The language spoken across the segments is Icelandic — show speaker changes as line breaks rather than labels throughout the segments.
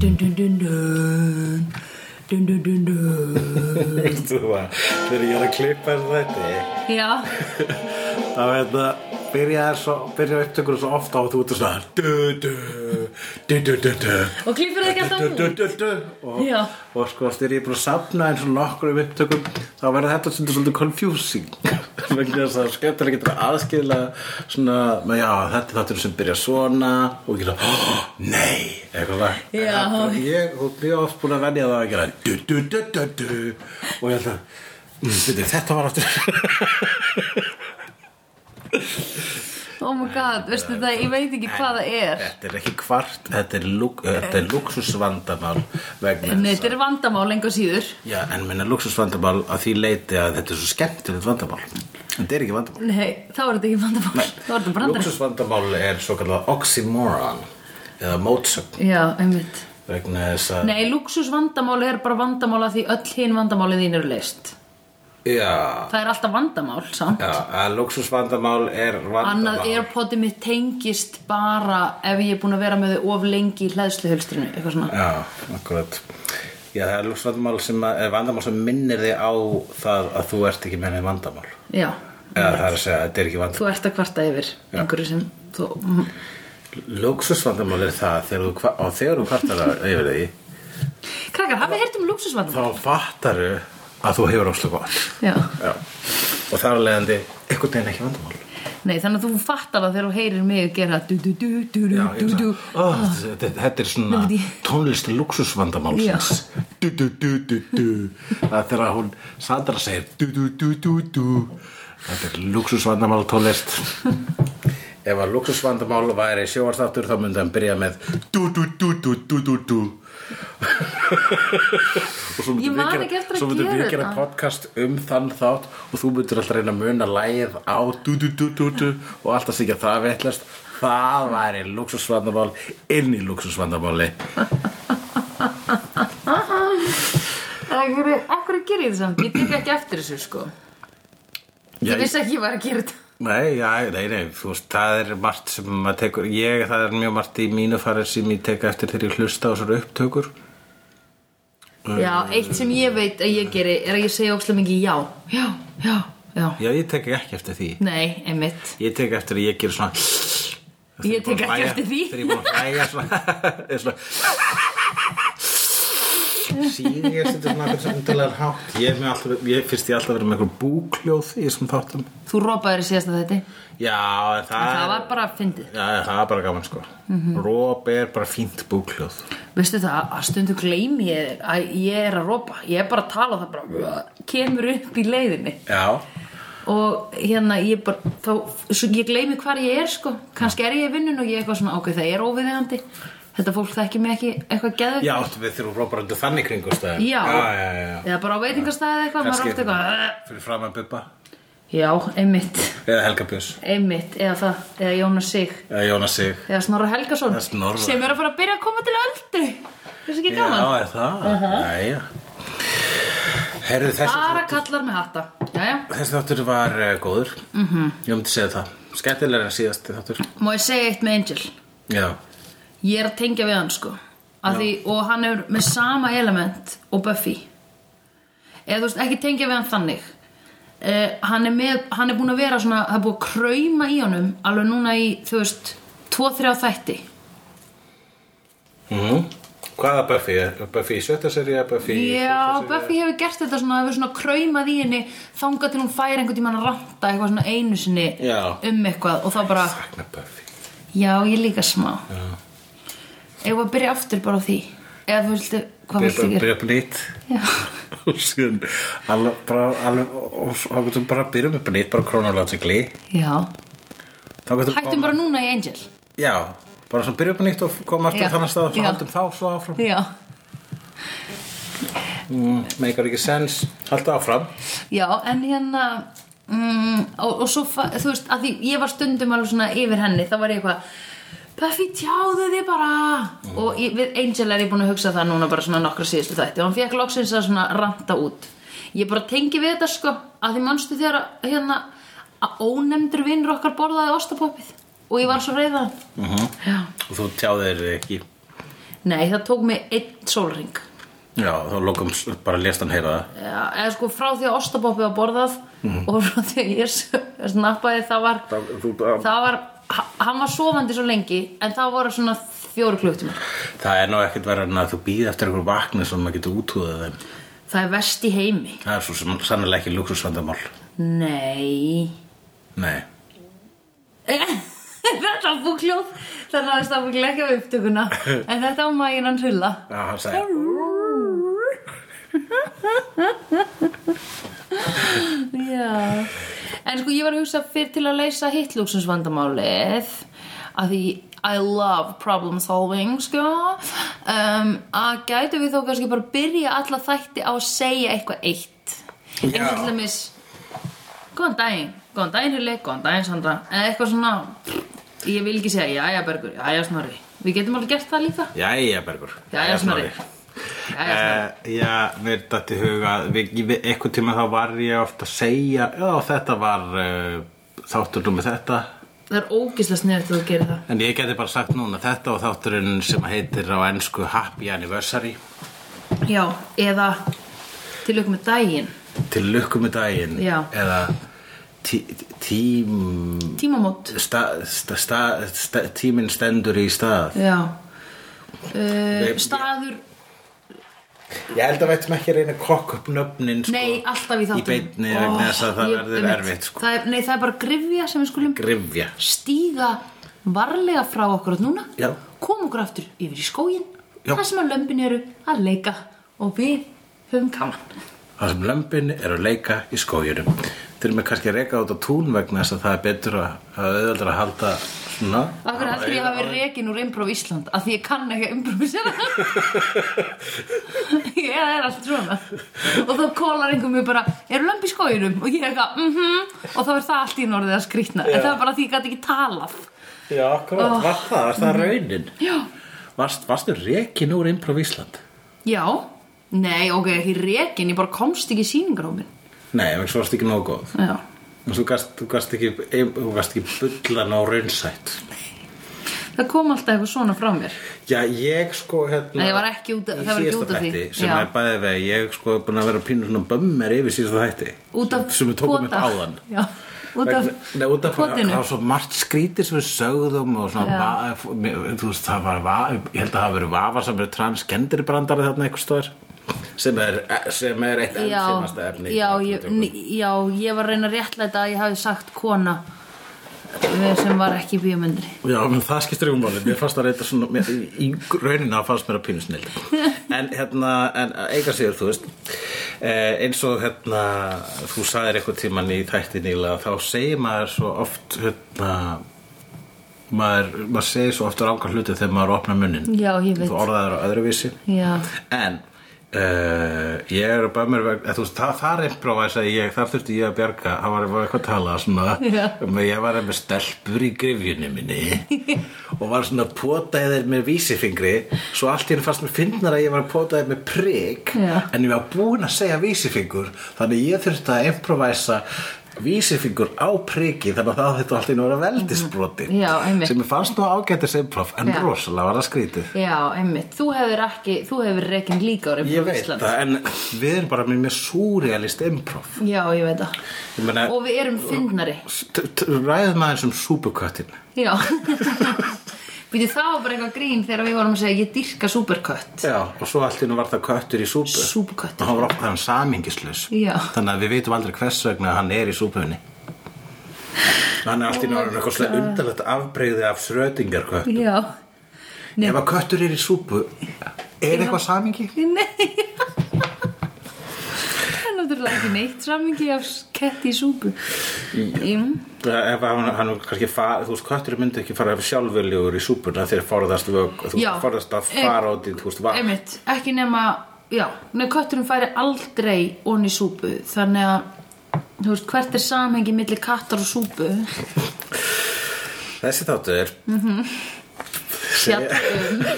Dun, dun, dun, dun. Dun, dun, dun, dun.
Veistu það, þegar ég er að klippa þessu þetta eh,
Já,
þá hérna byrja, svo, byrja upptökur svo ofta og þú ert svona du, du, du, du, du, du.
og klífur það ekki
Du,
alltaf
du,
út
du, du. Og,
Já.
og sko þegar ég er búin að safna eins og nokkrum upptökum þá verður þetta svolítið svolítið confusing vegna þess að skemmtilega getur að aðskila svona, "Men já, þetta er þáttur sem byrja svona og ég er að, oh, nei eitthvað það
Já.
Og ég og mjög oft búin að venja það að gera du, du, du, du, du. og ég ætla mm, veitir, þetta var aftur
Oh my god, veistu það, ég veit ekki hvað það er
þetta er ekki kvart þetta er, lúk, þetta er luxusvandamál vegna
Nei,
þess
þetta er vandamál enga síður
Já, en minna luxusvandamál að því leiti að þetta er svo skemmtilegt vandamál. En þetta er ekki vandamál.
Nei, þá er þetta ekki vandamál Þá er þetta brandar
Luxusvandamál er svo kallar oxymoron eða mótsögn
Já, einmitt
vegna þess að...
Nei, luxusvandamál er bara vandamál að því öll hinn vandamálið þín eru leist
Já,
Það er alltaf vandamál, samt
já, að luxusvandamál er vandamál.
Annað airpodið mitt tengist bara ef ég er búin að vera með þau of lengi í hlæðsluhulstrinu, eitthvað svona
Já, akkurat. Já, það er luxusvandamál sem að, er vandamál sem minnir þig á það að þú ert ekki með neð vandamál.
Já,
Eða það er að segja að þetta er ekki vandamál.
þú ert að kvarta yfir einhverju sem þú
Luxusvandamál er það þegar þú, kva- og þegar þú kvartar að- yfir því
Krakkar, hafið heyrt um luxusvandamál?
þá fattaru að þú hefur óslu gott
Já,
Já. og þar að leiðandi einhvern veginn ekki vandamál
nei, þannig að þú fattar það þegar þú heyrir mig gera du du du du du du du Ah.
oh, þetta, þetta er svona
Nei, veit
tónlist luxusvandamál
Já.
du, du, du, du, du. það er þegar hún Sandra segir du, du, du, du, du. þetta er luxusvandamál tónlist ef að luxusvandamál væri sjóarstáttur þá myndi hann byrja með du, du, du, du, du, du, du. og svo
Ég
myndum
man
við
ekki eftir
gera,
að
svo myndum
gera
við gera
þetta.
podcast um þann þátt og þú myndir alltaf reyna að muna lægið á du, du, du, du, du, og alltaf sikja það veitlast það væri luxusvandamál inn í luxusvandamáli
Akkur ger ég það samt? Ég tek ekki eftir þessu sko
Já,
Ég vissi ekki ég var að gera þetta
Nei, já, nei, nei, þú veist, það er margt sem maður tekur, ég, það er mjög margt í mínu farið sem ég tek eftir þegar ég hlusta á svona upptökur.
Já, eitt sem ég veit að ég geri er að ég segja ókslega mikið já Já, já, já
Já, ég tek ekki eftir því.
Nei, einmitt
Ég tek eftir að ég ger svona...
Ég tek
Þegar
ekki
ég
eftir því
búin að hlæja- Þegar ég búin að hlæja svona... er svona... Síði ég setur svona eitthvað sem undarlegar hátt. Ég, er með alltaf, ég finnst ég alltaf að vera með eitthvað búkljóð í þessum þáttum.
Þú rópaðir í síðasta þetta
Já, en það...
Það var Mhm. bara fyndið
Já, það er bara gaman, sko. Mm er bara fínt búkljóð.
Veistu það, að stundu gleymi ég að ég er að rópa Ég er bara að tala og það bara kemur upp í leiðinni
Já.
og hérna ég bara þá, svo ég gleymi hvar ég er sko kannski er ég í vinnun og ég er eitthvað svona ok, það er óviðegandi þetta fólk þekki mig ekki eitthvað geðveikt.
Já, áttu við þurfum bara undir þannig kringumstæðum.
já,
já, já, já.
eða bara á veitingastæði eitthvað, maður er oft eitthvað "Ugh."
fyrir fram að Bubba
já, einmitt,
eða Helga Björns
einmitt, eða það eða Jónas Sig,
eða Jónas Sig.
eða Snorra Helgason
Eða Snorra.
sem er að fara að byrja að koma til öldu þessi ekki gaman,
Já, er það? Já, já. Herðu, þessi,
bara kallar með hatta já, já,
þessi þáttur var uh, góður. Mm
Mhm.
-hmm. Ég myndi segja það. Skemmtilega en síðasti þáttur.
má ég segja eitt með Angel
Já.
ég er að tengja við hann sko Að því, og hann er með sama element og Buffy eða þú veist ekki tengja við hann þannig uh, hann, er með, hann er búin að vera svona það er búin að krauma í honum alveg núna í þú veist 2-3 þætti
Mm -hmm. Hvaða Buffy? Er Buffy í sjötta seríu? Buffy í
Já,
sjötta seríu?
Buffy hefur gert þetta svona, hefur svona kraumað í henni þangað til hún fær einhvern tímann að ranta eitthvað svona einu sinni
Já.
um eitthvað og þá bara,
Sakna Buffy.
já, ég líka smá
Já.
Ef að byrja aftur bara á því Eða þú viltu, hvað viltu
Byrja
gera?
byrja upp nýtt.
Já
og síðan alveg, bara, alveg, og þá getum bara byrjum upp nýtt, bara chronologically
Já,
Þá getum-
hættum bara núna í Angel
Já, bara svona byrja upp á nýtt og koma aftur
Já.
á þannig stað og
Já.
svo haldum þá svo áfram
Já,
mm, Meikar ekki sens, halda áfram
já en hérna mm, og, og svo, fa- þú veist, að því ég var stundum alveg svona yfir henni, þá var ég eitthvað Buffy, tjáðu þið bara og ég, við Angel er ég búin að hugsa það núna bara svona nokkra síðustu þætti og hann fekk loksins að svona ranta út ég bara tengi við þetta sko að því manstu þegar að, hérna að ónefndur vinnur okkar borðaði ostapoppið og ég var svo reyða
uh -huh.
Já,
og þú tjáðir þig ekki
Nei, það tók mig einn sólring
Já, þá lokum s- bara lest hann heyra það
Já, eða sko frá því að ostaboppið var borðað og frá því að ég s- snappaði það var,
Það, þú, það,
það var ha- hann var sofandi svo lengi en það voru svona fjóru klukktíma
það er ná ekkert verið en að þú býð eftir einhver vakni sem maður getur útúðað þeim
það er verst í heimi
Það er svo sem sannlega ekki luxusvandamál
nei
Nei,
þetta var fúkljóð það náðist það fúklega ekki á upptökuna en þetta var maginn hann hulla
já, hann sagði
já en sko ég var að hugsa fyrir til að leysa hitlúksins vandamálið að því I love problem solving sko um, að gætu við þó kannski bara byrja alla þætti á að segja eitthvað eitt
Já.
eins og til dæmis góðan daginn, góðan daginn Hilli, góðan daginn Sandra eða eitthvað svona ég vil ekki segja jæja Bergur, jæja Snorri við getum alveg gert það líka
Jæja, Bergur
jæja Snorri jæja Snorri
Eh, já, mér dætti huga við, við, einhvern tíma þá var ég oft að segja já, þetta var uh, þátturinn með þetta
það er ógislega sniðið að þú gerir það
en ég geti bara sagt núna þetta og þátturinn sem heitir á ennsku Happy Anniversary
Já, eða til okkur með daginn
til lukkum í daginn
Já.
eða tí, tím
Tímamót
sta, sta, sta, sta, tíminn stendur í stað
Já uh, Staður
sko, Ég held að veitum ekki að reyna að kokka upp nöfnin sko,
Nei, alltaf í þáttum
í beinni vegna þess að það verður erfitt sko.
það er, Nei, það er bara grifja sem við skulum
Grifja
stíga varlega frá okkur átt núna
Já.
Koma okkur aftur yfir í skóginn
Já.
Það sem að lömbin eru að leika og við höfum kaman
Það sem lömbin er að leika í skóginum Þeir með kannski að reyka út á tún vegna þess að það er betur að að auðvöldur að halda svona
Akkur heldur ég hafi rekin úr Improv Ísland að því ég kann ekki að improvisera Ég er allt svona og þá kólar einhver mér bara eru lömb í skóginum og ég er eitthvað mhm og þá er það allt í norðið að skrýtna en það er bara því ég gæti ekki talað
Já, akkurat, oh. var það, var það raunin
Já,
Varst, Varstu rekin úr Improv Ísland?
já, nei ok, ekki rekin, ég bara komst ekki í sýningar á minn
Nei, en svo varst ekki nóg góð
Já,
En svo gast, þú gast ekki, þú gast ekki bullan á raunsætt
það kom alltaf eitthvað svona frá mér
Já, ég sko hérna
Nei, ég var ekki út- það var ekki út af því.
þætti, Sem
Já.
er bæðið vegi, ég sko er búin að vera pínur svona bömmir yfir síðasta þætti
Út af
Sem við tókum upp
kvota.
áðan
Já, út af,
Vegna- Nei, út af
kvotinu.
Það var svo margt skrítir sem við sögðum og svona, va, þú veist, það var va, ég held að það hafa verið vafa sem er transgenderbrandari þarna einhvers stóðar sem er, sem er eitt
já,
ennfinnasta efni í
já,
öllum
ég,
tökum.
ný- já, ég var að reyna að réttlæta að ég hafi sagt kona eh, sem var ekki í bíómyndri
Já, menn það skiptir ykkur máli, mér fannst það reyta svona, mér, í raunina fannst mér að pínu snill En hérna, en eiga sigur, þú veist eh, eins og hérna, þú sagðir eitthvað tíman í þætti nýlega þá segir maður svo oft hérna, maður, maður segir svo oft ranga hluti þegar maður opnar munnin
Já, ég veit.
Þú orðaðir á öðruvísi
Já,
En Uh, ég er bara mér vegna þú veist, það, það er improvise að ég, þar þurfti ég að bjarga það var, var eitthvað að tala svona,
Já.
um að ég var með stelpur í grifjunni minni og var svona að pota þeir með vísifingri svo allt í henni fannst mér fyndnar að ég var að pota þeir með prik
Já.
en ég var búin að segja vísifingur þannig ég þurfti að improvisa vísifingur á priki þannig að það þetta alltaf að vera veldisbroti
Mhm. Já, einmitt.
sem ég fannst nú ágætis improv en
Já.
rosalega var það skrítið
já, einmitt Þú hefur ekki, þú hefur reikin líka á reyna
Ég veit það, en við erum bara með mjög súrealist improv.
Já, ég veit það
Ég meina,
Og við erum fyndnari
t- t- ræðum aðeins um súpukattin.
Já Býtu, það var bara eitthvað grín þegar við vorum að segja ég dyrka superkött
Já, og svo allt innan var það köttur í súpu.
Súpukött
Og hann var okkur hann samingislaus.
Já.
Þannig að við veitum aldrei hvers vegna hann er í súpunni. Hann er allt í náttúrulega eitthvað slega undarlegt afbreyði af srötingarkött.
Já Nei.
Ef að köttur er í súpu, er eitthvað samingi?
Nei Það er náttúrulega ekki neitt Sammingi af ketti í súpu Ím
Ef að hann, hann kannski fara, þú veist, köttur myndi ekki fara sjálfurlegur í súpuna þegar forðast, vök, þú
Já.
veist, forðast að
Em-
fara út í, þú veist, vatn.
Einmitt, ekki nema Já, nei, kötturinn færi aldrei onni súpu Þannig að Þú veist, hvert er samhengi milli kattar og súpu
Þessi þáttur
Fjall um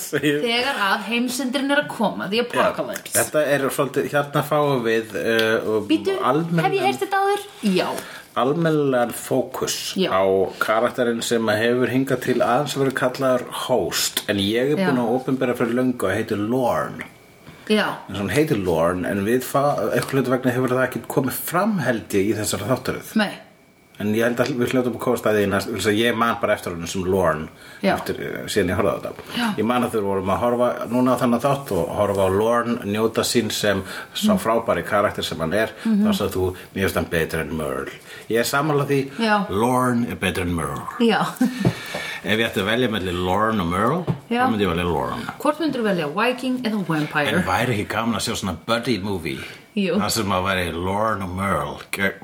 segir-
Þegar að heimsendurinn er að koma Því að plaka völd
Þetta er svolítið, hérna fáum við uh,
Býtu,
almenn
hef ég heyrt þetta áður? Já,
almennilegan fókus
Já.
á karakterinn sem að hefur hingað til aðeins verið kallaður host en ég er
Já.
búin að opinbera fyrir löngu að heitir Lorne
já,
en svona heitir Lorne en við fa- einhvern veginn vegna hefur það ekki komið fram held ég í þessari þáttaröð
nei
en ég held að við hljóttum að komast að því næst þess að ég man bara eftir honum sem Lorne
Já.
eftir, eh, síðan ég horfði á þetta
Já.
ég man að þau vorum að horfa núna á þannig þátt og horfa á Lorne njóta sín sem sá
Mhm.
frábæri karakter sem hann er mm -hmm. þá sagði þú, mér finnst hann betur en Merle ég er samanlega því,
Já.
Lorne er betur en Merle
já,
ef ég ætti að velja mellir Lorne og Merle
Já.
þá myndi ég velja Lorne
hvort myndur velja Viking eða Vampire
en væri ekki gaman að sjá svona buddy movie
Jú.
það sem að væri Lorne og Merle ge-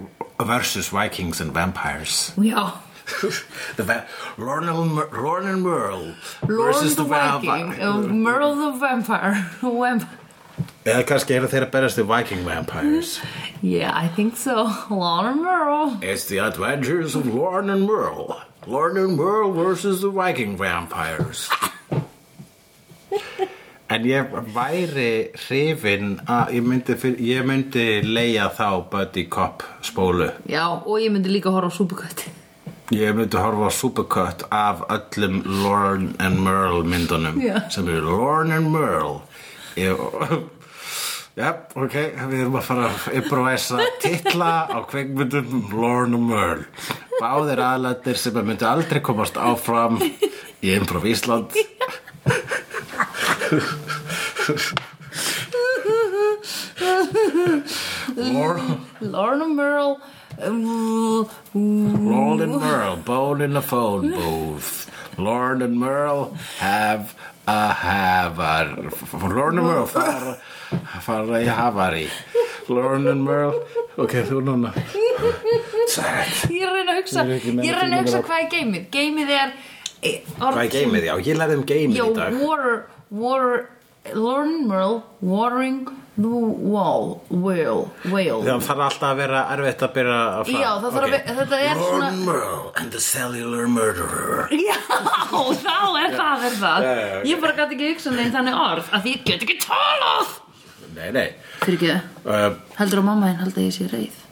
versus Vikings and Vampires
já,
the va- Lorne, and Mer- Lorne and Merle
Lord
versus
the Um,
va-
Viking
va-
og Merle the Vampire Vamp
eða kannski eru þeir að berast við Viking Vampires
yeah, I think so Lord and Merle
it's the adventures of Lorne and Merle Lorne and Merle versus the Viking Vampires en ég væri hrifin að ég myndi, fyr- ég myndi leia þá Buddy Cop spólu
já, og ég myndi líka horfa á Supercut
Ég myndi horfa á Supercut af öllum Lorne and Merle myndunum
Já.
sem eru Lorne and Merle ég, Jep, ok, við erum að fara að improvisa titla á kveikmyndum um Lorne og Merle Báðir aðlættir sem að myndi aldrei komast áfram í Improv Ísland Lorne
Lord and Merle uh,
Lorne and Merle, bone in the phone booth. Lorne and Merle have a havar. Lorne and Merle fara, fara í havari. Lorne and Merle, ok, þú núna. Sæt.
ég reyna að hugsa
Ég er ekki með
ég reyna að hugsa
tilfinningar.
hvað er geimið geimið er eh,
Hvað er geimið? Já, ég lærði um geimið
já,
í dag.
water, water Lauren Merle watering the wall whale, whale.
Það þarf alltaf að vera erfitt að byrja að fara.
Já, það þarf að
Ok.
vera- þetta er
Lorne
svona-
Merle and the cellular murderer.
Já, þá er það, er það
Já, já, ok.
Ég bara gæti ekki hugsa neinn þannig orð að því ég get ekki talað
Nei, nei.
Fyrir ekki,
Uh,
heldur að mamma þín halda að ég sé reið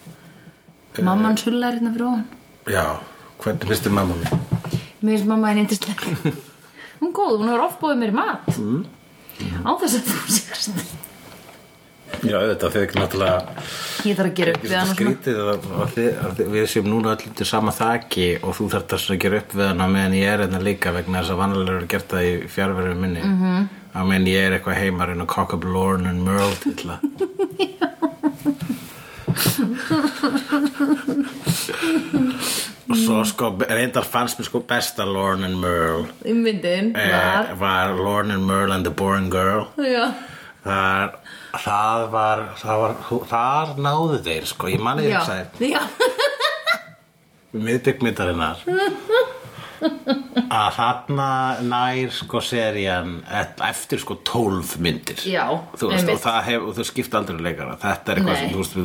Eh.
Mamma hans hulla er hérna fyrir ofan
já, hvernig finnst þið mamma mín?
Mér finnst mamma þín yndisleg Hún er góð, hún hefur oft bóðið mér í mat mm. Á þess að þú sérst
Já, auðvitað, þið er náttúrulega...
Ég þarf að gera upp
Ég
við
finnst
hann og svona
það skrítið að, að, þið, að þið- við séum núna öll til sama þaki og þú þarft að gera upp við hana meðan ég er hérna líka vegna þess að vanlega eru gert það í fjárverfið minni mm
Mhm.
-hmm. að meðan ég er eitthvað heimar en að cock up Lorne and Merle titla og svo sko reyndar fannst mér sko besta Lorne and Merle
Í Um myndin, var
eh, var Lorne and Merle and the Boring Girl
Já,
Þar, það var, það var, þar náðu þeir, sko, ég mani
já,
þér sætt,
já,
miðbyggmyndarinnar, að þarna nær, sko, serían, et- eftir, sko, tólf myndir.
Já,
Þú veist,
einmitt.
og það hef, og þau skipta aldrei leikara, þetta er eitthvað
Nei.
sem, þú veist,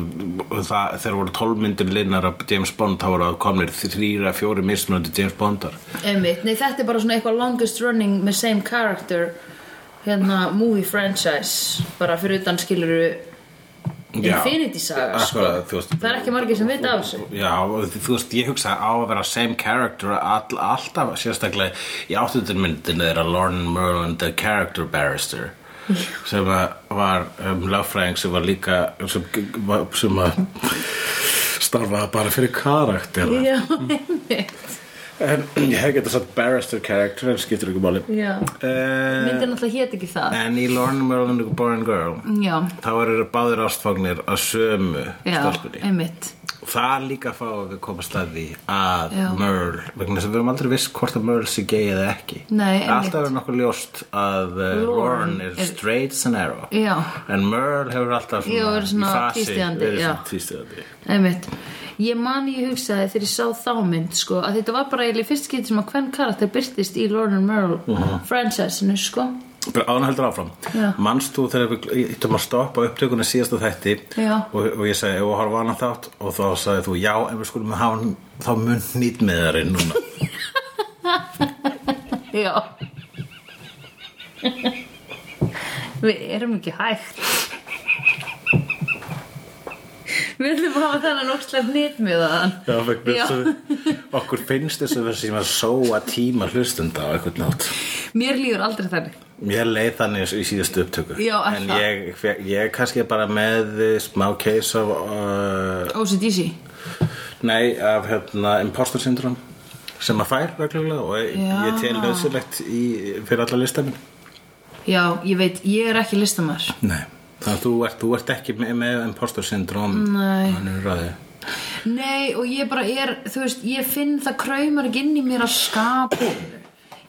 við- það, þegar voru tólf myndir linnar af James Bond, þá voru að komnir þrýra, fjóri mismunandi James Bondar.
einmitt Nei, þetta er bara svona eitthvað longest running með same character hérna, movie franchise bara fyrir utan skiluru Infinity
Ah.
Saga, sko
Akkurat, þú veist.
Það er ekki margir sem vita af þessu
Já, og þú þú veist, ég hugsa á að vera same character all, alltaf sérstaklega í áttundurmyndinu þeirra Lorne Merlin, the character barrister sem að var um, lögfræðing sem var líka sem, sem að starfaði bara fyrir karakter
Já, einmitt
en ég hef getað satt barrister character en skiptir ekki máli
Já,
uh,
myndin alltaf hét ekki það
en í Lorne Merlin og Born Girl
Já,
þá eru báðir ástfagnir að sömu
já,
stelpunni
einmitt
Það líka fá að við komast að því að
Já.
Merle, vegna þess að við erum aldrei viss hvort að Merle sé gay eða ekki.
Nei,
Það er
einmitt.
Alltaf er nokkuð ljóst að uh,
Lorne
Lorne er
er-
straight and arrow.
Já.
En Merle hefur alltaf svona,
Já, verið svona
í fasi
tvístígandi,
verið
já.
svona tvístíðandi.
Einmitt. Ég man ég hugsaði þegar ég sá þá mynd sko, að þetta var bara eiginlega í fyrst skipti sem að hvern karakter byrtist í Lorne and Merle franchise-inu sko.
Bara ána heldur áfram.
Já.
Manst þú þegar við íttum að stoppa upptökunni síðasta þætti
Já.
og, og ég sagði, ef við horfa á hana þátt og þá sagði þú, já, en við skulum hafa hann þá mun nýtt með þeirri núna.
Já Við erum ekki hægt Við ætlum að hafa þennan ókslega hnýtt með
Já, vegna þess að okkur finnst þess að vera sem að sóa tíma hlustunda á eitthvað nátt.
Mér líður aldrei þannig
Mér leið þannig í síðustu upptöku.
Já, er
en
það?
ég, fe- ég er kannski bara með eh, smá case of, uh,
OCDC
nei, af hérna, imposter syndrom sem maður fær reglulega og ég,
Já.
ég tel nöðsilegt í, fyrir alla listanum.
Já, ég veit, ég er ekki listamar
Nei, þannig að þú ert, þú ert ekki með, með imposter syndrom.
Nei.
Þannig ráði.
Nei, og ég bara er, þú veist, ég finn það kraumar ekki inn í mér að skapa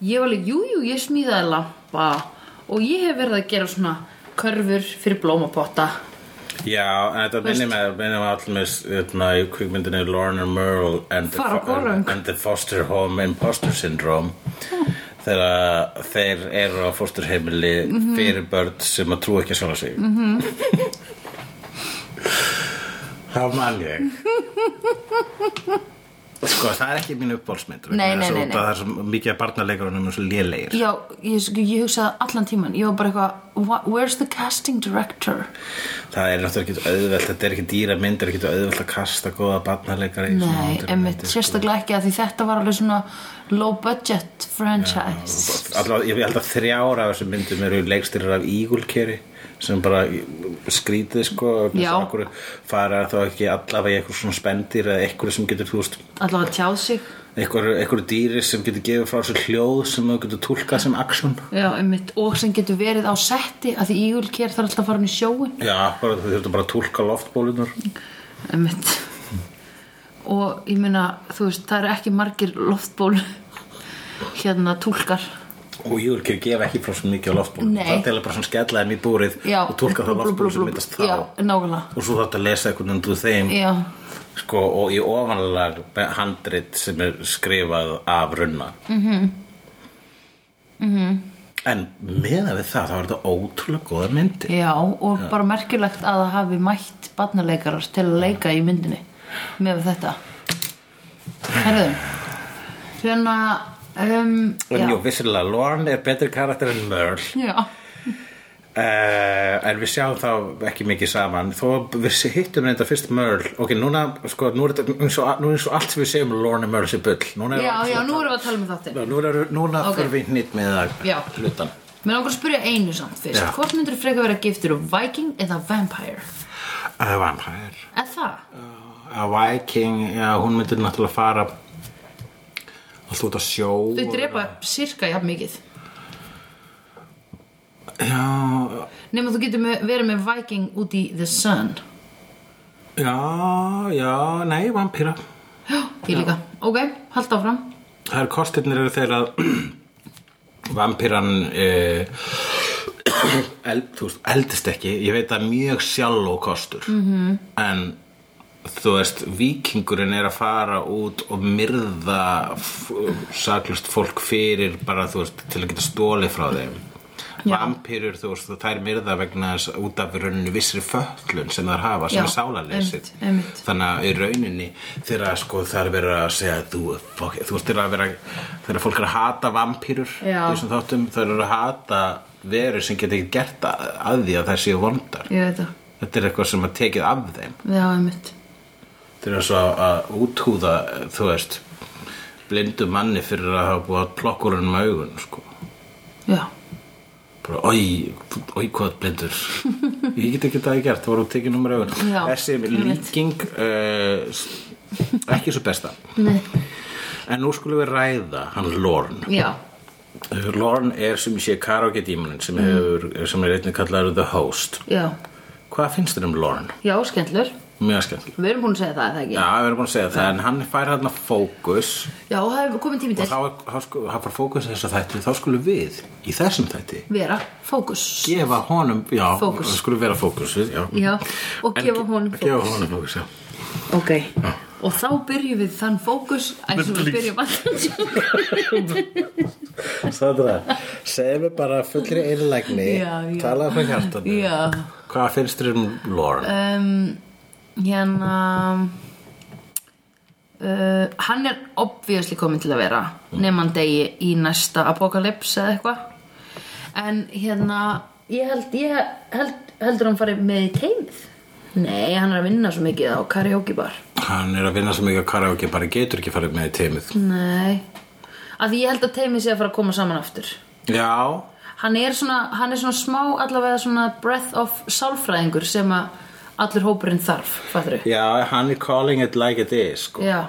Ég var alveg, jú, jú, ég smíðaði lampa og ég hef verið að gera svona körfur fyrir blómapotta
Já, en þetta minnir mig, minnir mig allir með hérna, í kvikmyndinni Lorna Merle and the,
Fara á gorung.
and the Foster Home Imposter Syndrome
Hmm.
þegar þeir eru á fósturheimili
Mhm.
fyrir börn sem að trú ekki að sjálfa sig mm -hmm. Það man ég Sko, það er ekki mín uppbólsmynd
Nei, nei, nei, nei.
Það er svo mikið að barnaleikurunum og svo lélegir
Já, ég, sko, ég hugsaði allan tíman Ég var bara eitthvað, "Wha- where's the casting director?
Það er náttúrulega ekki auðvelt, þetta er ekki dýra mynd, þetta er ekki auðvelt að kasta góða barnaleikara í svona
Nei,
undir-
einmitt, sérstaklega ekki að því þetta var alveg svona low budget franchise
Alla, ég held að þrjára af þessum myndum eru leikstyrir af Ígulkeri sem bara skrítið sko
Já.
okkur fara þá ekki allavega í eitthvað svona spendir eða eitthvað sem getur, þú veist,
Allavega tjáð sig
eitthvað, eitthvað dýri sem getur gefið frá sér hljóð sem þú getur túlkað sem action
Já, einmitt, og sem getur verið á setti að því ígulkér þarf alltaf að fara hann í sjóin
Já, bara, þú þurftu bara að túlka loftbólunar
Einmitt Og ég meina, þú veist, það eru ekki margir loftból hérna túlkar
og Ígulkeri gefa ekki frá sér mikið á loftbólun
Nei.
það er eiginlega bara svona skella þeim í búrið
Já,
og túlka þá
blú, blú,
loftbólun
blú,
sem
blú.
myndast þá
Já, nákvæmlega
og svo þátt að lesa eitthvað undir þeim
Já,
sko, og í ofanlag handrit sem er skrifað af runna mm -hmm.
Mhm.
en meðan við það þá er þetta ótrúlega góða myndi
já, og bara merkilegt að það hafi mætt barnaleikarar til að leika í myndinni með þetta Herðu Hérna um,
en jú,
já,
vissilega Lorne er betri karakter en Merle
já,
Uh, en við sjáum þá ekki mikið saman þó við sé- hittum reynda fyrst Merle ok, núna, sko, nú er þetta eins og, nú er eins og allt sem við segjum um Lorne Merle sér bull núna
já, já,
er,
nú erum við að tala um þáttin
nú er, núna
Ok.
okay. fyrir við nýtt með það
Já.
hlutan
Mér langar að spyrja einu samt fyrst
Já.
Hvort myndur frekar vera giftur og viking eða vampire?
uh, vampire
Eða það?
að Viking, já, hún myndir náttúrulega fara alltaf út að sjó
Þau drepa sirka jafn mikið
já,
Nefnum þú getur með, verið með viking út í the sun
já, já, nei, vampíra
Ég líka Ok, halda áfram
það eru kostirnir eru þeir að vampíran e, eld, þú veist, eldist ekki ég veit að mjög sjálf og kostur
Mhm.
-hmm. en þú veist, vikingurinn er að fara út og myrða f- saklust fólk fyrir bara, þú veist, til að geta stólið frá þeim
Já.
vampýrur, þú veist, það er myrða vegna þess út af í rauninni vissri föllun sem þær hafa, sem
Já,
er sálarleysið
einmitt, einmitt.
þannig að í rauninni þegar sko það er verið að segja þú, fokk, þú veist þegar að vera þegar fólk er að hata vampýrur
Já.
þessum þáttum þær eru að hata veru sem geta ekki gert að, að því að þær séu vondar
Ég veit það
þetta er eitthvað sem að tekið af þeim
Já, einmitt
þeir eru svo að, að úthúða þú veist blindu manni fyrir að hafa búið að plokkur um augun sko
Já
bara, oi, oi hvað blindur ég get ekki það að gert, það voru tekið nummer um augun
Já,
þessi
einmitt.
líking uh, s- ekki svo besta
Nei.
en nú skulum við ræða hann Lorne
Já,
Lorne er sem ég sé karaoke dímunin
Mm.
sem, hefur, sem er einnig kallaður The Host
já
hvað finnst þér um Lorne?
Já, skemmtlur
mjög skemmt
Við erum búin að segja það, er það ekki
Já, við erum búin að segja það, en hann fær hann að fókus
Já, það er komin tími
og
til
þá, er- þá sku- hann fær fókus þess að þætti, þá skulum við í þessum þætti
Vera, fókus
gefa honum, já,
Fókus.
það skulum vera fókus já.
Já, og
En
gefa
ge-
honum
gefa
fókus.
honum fókus, já
Ok Og þá byrjum við þann fókus eins og við byrjum alltaf
Sandra, segðu mér bara fullri einlægni,
Já, já.
talaðu frá hjartanu
Já
Hvað finnst þér um Lauren?
um, hérna uh, hann er obviously komin til að vera nema hann degi í næsta apokalips eða eitthvað en hérna ég held, ég held heldur hann farið með í teimið Nei, hann er að vinna svo mikið á karaoke bar
Hann er að vinna svo mikið á karaoke bara getur ekki farið með í teimið
Nei Af því ég held að teimi sé að fara að koma saman aftur
Já,
Hann er svona, hann er svona smá allavega svona breath of sálfræðingur sem að allur hópurinn þarf, fattur við?
já, hann er calling it like it is sko.
Já,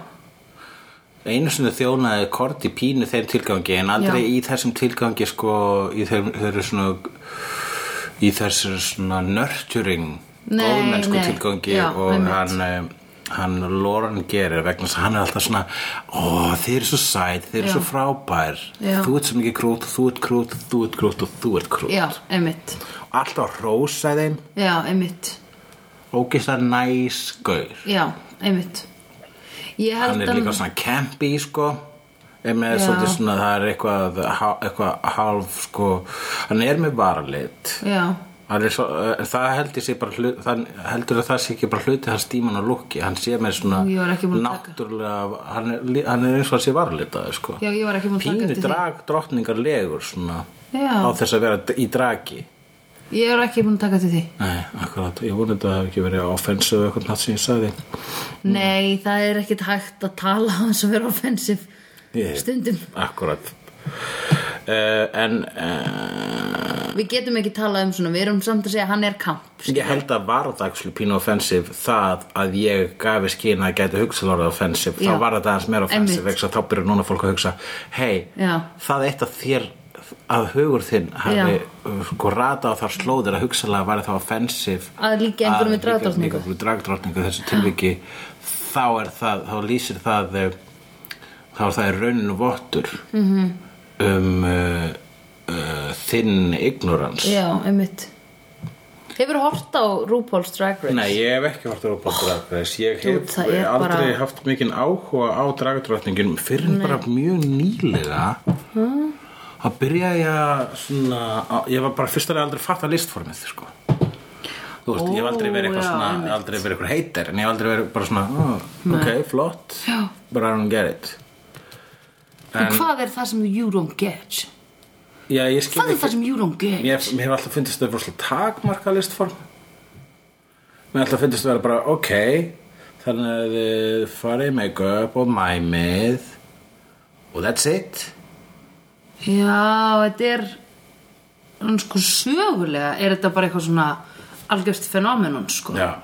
Einu sinni þjónaði Korti pínu þeim tilgangi en aldrei
Já.
í þessum tilgangi sko, í þeim, þeir eru svona í þessu svona nurturing
Nei,
góðmennsku
nei.
tilgangi
Já,
og
einmitt.
hann eh, hann Loran gerir vegna þess að hann er alltaf svona ó, þeir eru svo sæt, þeir eru
Já.
svo frábær
Já.
þú ert svo mikið krút, þú ert krút þú ert krút og þú ert krút
já, einmitt
alltaf rósa þeim,
Já, einmitt
ógist að næs gaur
Já, einmitt Ég held
hann er
að-
líka svona campy sko er með
Já.
svolítið svona það er eitthvað, há- eitthvað hálf sko hann er með varalit
Já,
Hann er svo, eh, það heldur sé bara hluti, hann heldur að það sé ekki bara hluti hans tíman og lukki, hann sé með svona
Ég var ekki búin að taka.
náttúrulega, hann er, li- hann er eins og hann sé varalitaði sko
já, ég var ekki múin að taka
pínu
eftir
drag drottningarlegur svona
Já.
á þess að vera í dragi
því Ég var ekki múin að taka eftir því
Nei, akkurat, ég vonið að það hef ekki verið offensive eitthvað nátt sem ég sagði Mm.
Nei, það er ekkit hægt að tala hans og vera offensiv
Ég-
stundum
Akkurat uh, En uh,
Við getum ekki talað um svona, við erum samt að segja að hann er kamp
ég held að var það actually pínu offensiv það að ég gafi skýna að gæti hugsað orðið offensiv
Já.
þá var þetta aðeins meira offensiv
Einmitt.
vegna þá byrjar núna fólk að hugsa hei,
Já.
það eitt að þér að hugur þinn hafi uh, sko rata á þar slóðir að hugsaðlega væri það offensiv
Að líkja einhverjum við dragdrottningu.
dragdrottningu þessu tilviki þá er það, þá lýsir það eh, þá er það í rauninu vottur
Mhm.
-hmm. um uh, uh, þinn ignorans
Já, einmitt Hefur hort á RuPaul's Drag Race?
Nei, ég hef ekki hort á dragdræðis Ég
Dude,
hef
það er
aldrei
bara-
haft mikinn áhuga á dragdræðningin fyrir en bara mjög nýlega að byrja ég að svona, að- ég var bara fyrst að aldrei fatta listformið sko. Þú veist, ég hef aldrei verið eitthvað
Ó, já,
svona
einmitt.
aldrei verið eitthvað heitir en ég hef aldrei verið bara svona "Ah, ok, flott,
Já.
bara I don't get it
En hvað er það sem you don't get?
Já, ég skil
Hvað er það sem you don't get?
Mér, mér hef alltaf fundist það fyrir takmarka listform Mér hef alltaf fundist það vera bara ok Þannig að þið farið make-up og mæmið og that's it
Já, þetta er hann sko sögulega er þetta bara eitthvað svona algjörst fenómenon sko uh,
Já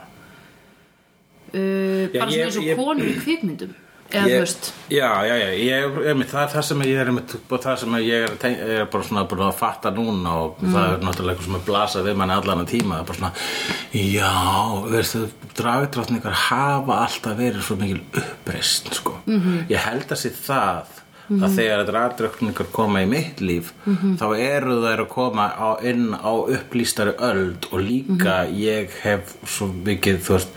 bara
ég-
svona eins og
ég-
konur í kvikmyndum eða þú
ég,
veist
Já, já, já, ég, einmitt, það er það sem ég er einmitt, bara það sem ég er, að teng- er bara svona búin að fatta núna og það er náttúrulega eitthvað sem er blasað við manni allan að tíma það er bara svona, já, veistu dragdrottningar hafa alltaf verið svo mikil uppreist, sko -hmm. ég held að sé það að þegar dragdrottningar koma í mitt líf þá eru þær að koma á, inn á upplýstari öld og líka ég hef svo mikið, þú veist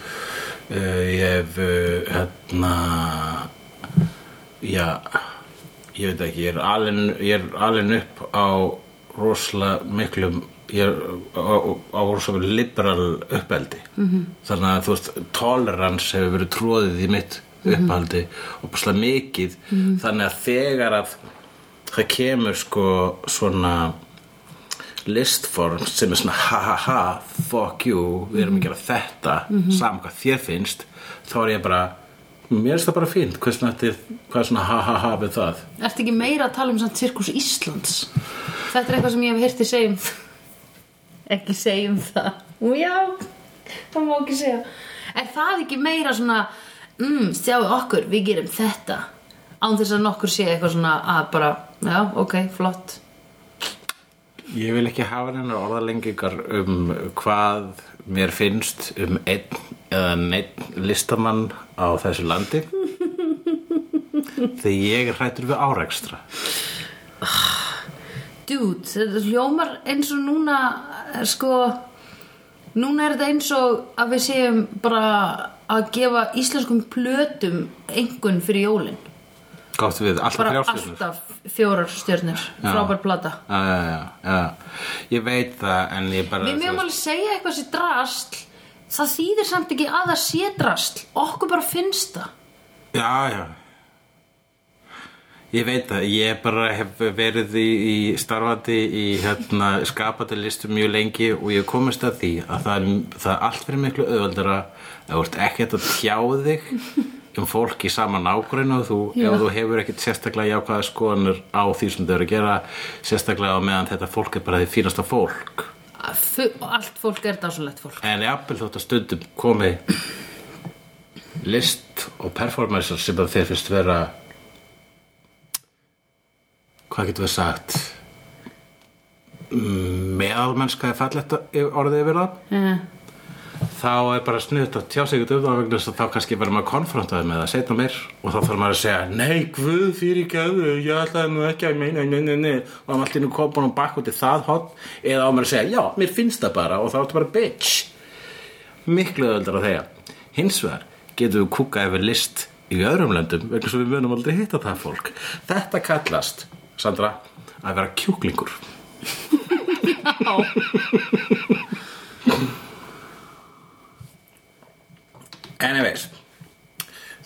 Uh, ég hef uh, hérna já ég veit ekki, ég er alin, ég er alin upp á rosalega miklum ég er á, á rosalega liberal uppeldi -hmm. þannig að þú veist, tolerance hefur verið tróðið í mitt upphaldi og bara mikið þannig að þegar að það kemur sko svona listform sem er svona ha ha ha, fuck you við erum að gera þetta, mm -hmm. saman hvað þér finnst þá er ég bara mér finnst það bara fínt, hversu nættið hvað er svona ha ha ha við það
Ertu ekki meira að tala um samt sirkus Íslands? Þetta er eitthvað sem ég hef hirti segja um það ekki segja um það Ú, Já, það má ekki segja Er það ekki meira svona mm, sjáu okkur, við gerum þetta án þess að nokkur sé eitthvað svona að bara, já, ok, flott
ég vil ekki hafa hennar orðalengingar um hvað mér finnst um einn eða neitt listamann á þessu landi þegar ég er hrættur við árekstra
Dude, þetta hljómar eins og núna eh, sko núna er þetta eins og að við séum bara að gefa íslenskum plötum engun fyrir jólin
gott við, alltaf
bara
frjálstjörnur
alltaf fjórar stjörnir frábær plata
já, já, já, já. ég veit það en ég bara
Við
þú
mögum
veist-
alveg segja eitthvað sér drasl það þýðir samt ekki að það sé drasl okkur bara finnst það
Já, já Ég veit það, ég bara hef verið í, í starfandi í hérna, skapandi listum mjög lengi og ég hef komist að því að það er, það er allt fyrir miklu auðveldara að þú ert ekkert að tjá þig um fólk í sama nágrinu þú, ef þú hefur ekkert sérstaklega jákvæða skoðanur á því sem þau eru að gera sérstaklega á meðan þetta fólk er bara því fínasta fólk
Fu- Allt fólk er dásalegt fólk
en jafnvel þótt að stundum komi list og performancer sem að þeir finnst vera hvað getum við sagt Mm, meðalmennska er fallegt orðið yfir það
uh,
þá er bara snuðt að tjá sig ekkert um það vegna þess að þá kannski verður maður konfrontaði með það setna mér og þá þarf maður að segja nei, guð, fyrir gæðu, ég ætlaði nú ekki að meina, nei, nei, nei og hann allt í nú komin og bakk út í það hot eða á maður að segja, já, mér finnst það bara og þá ertu bara bitch miklu öðvöldur að þegar hins vegar getum við kúka yfir list í öðrum löndum vegna svo við munum aldrei hitta það fólk þetta kallast, Sandra, að vera kjúklingur Anyways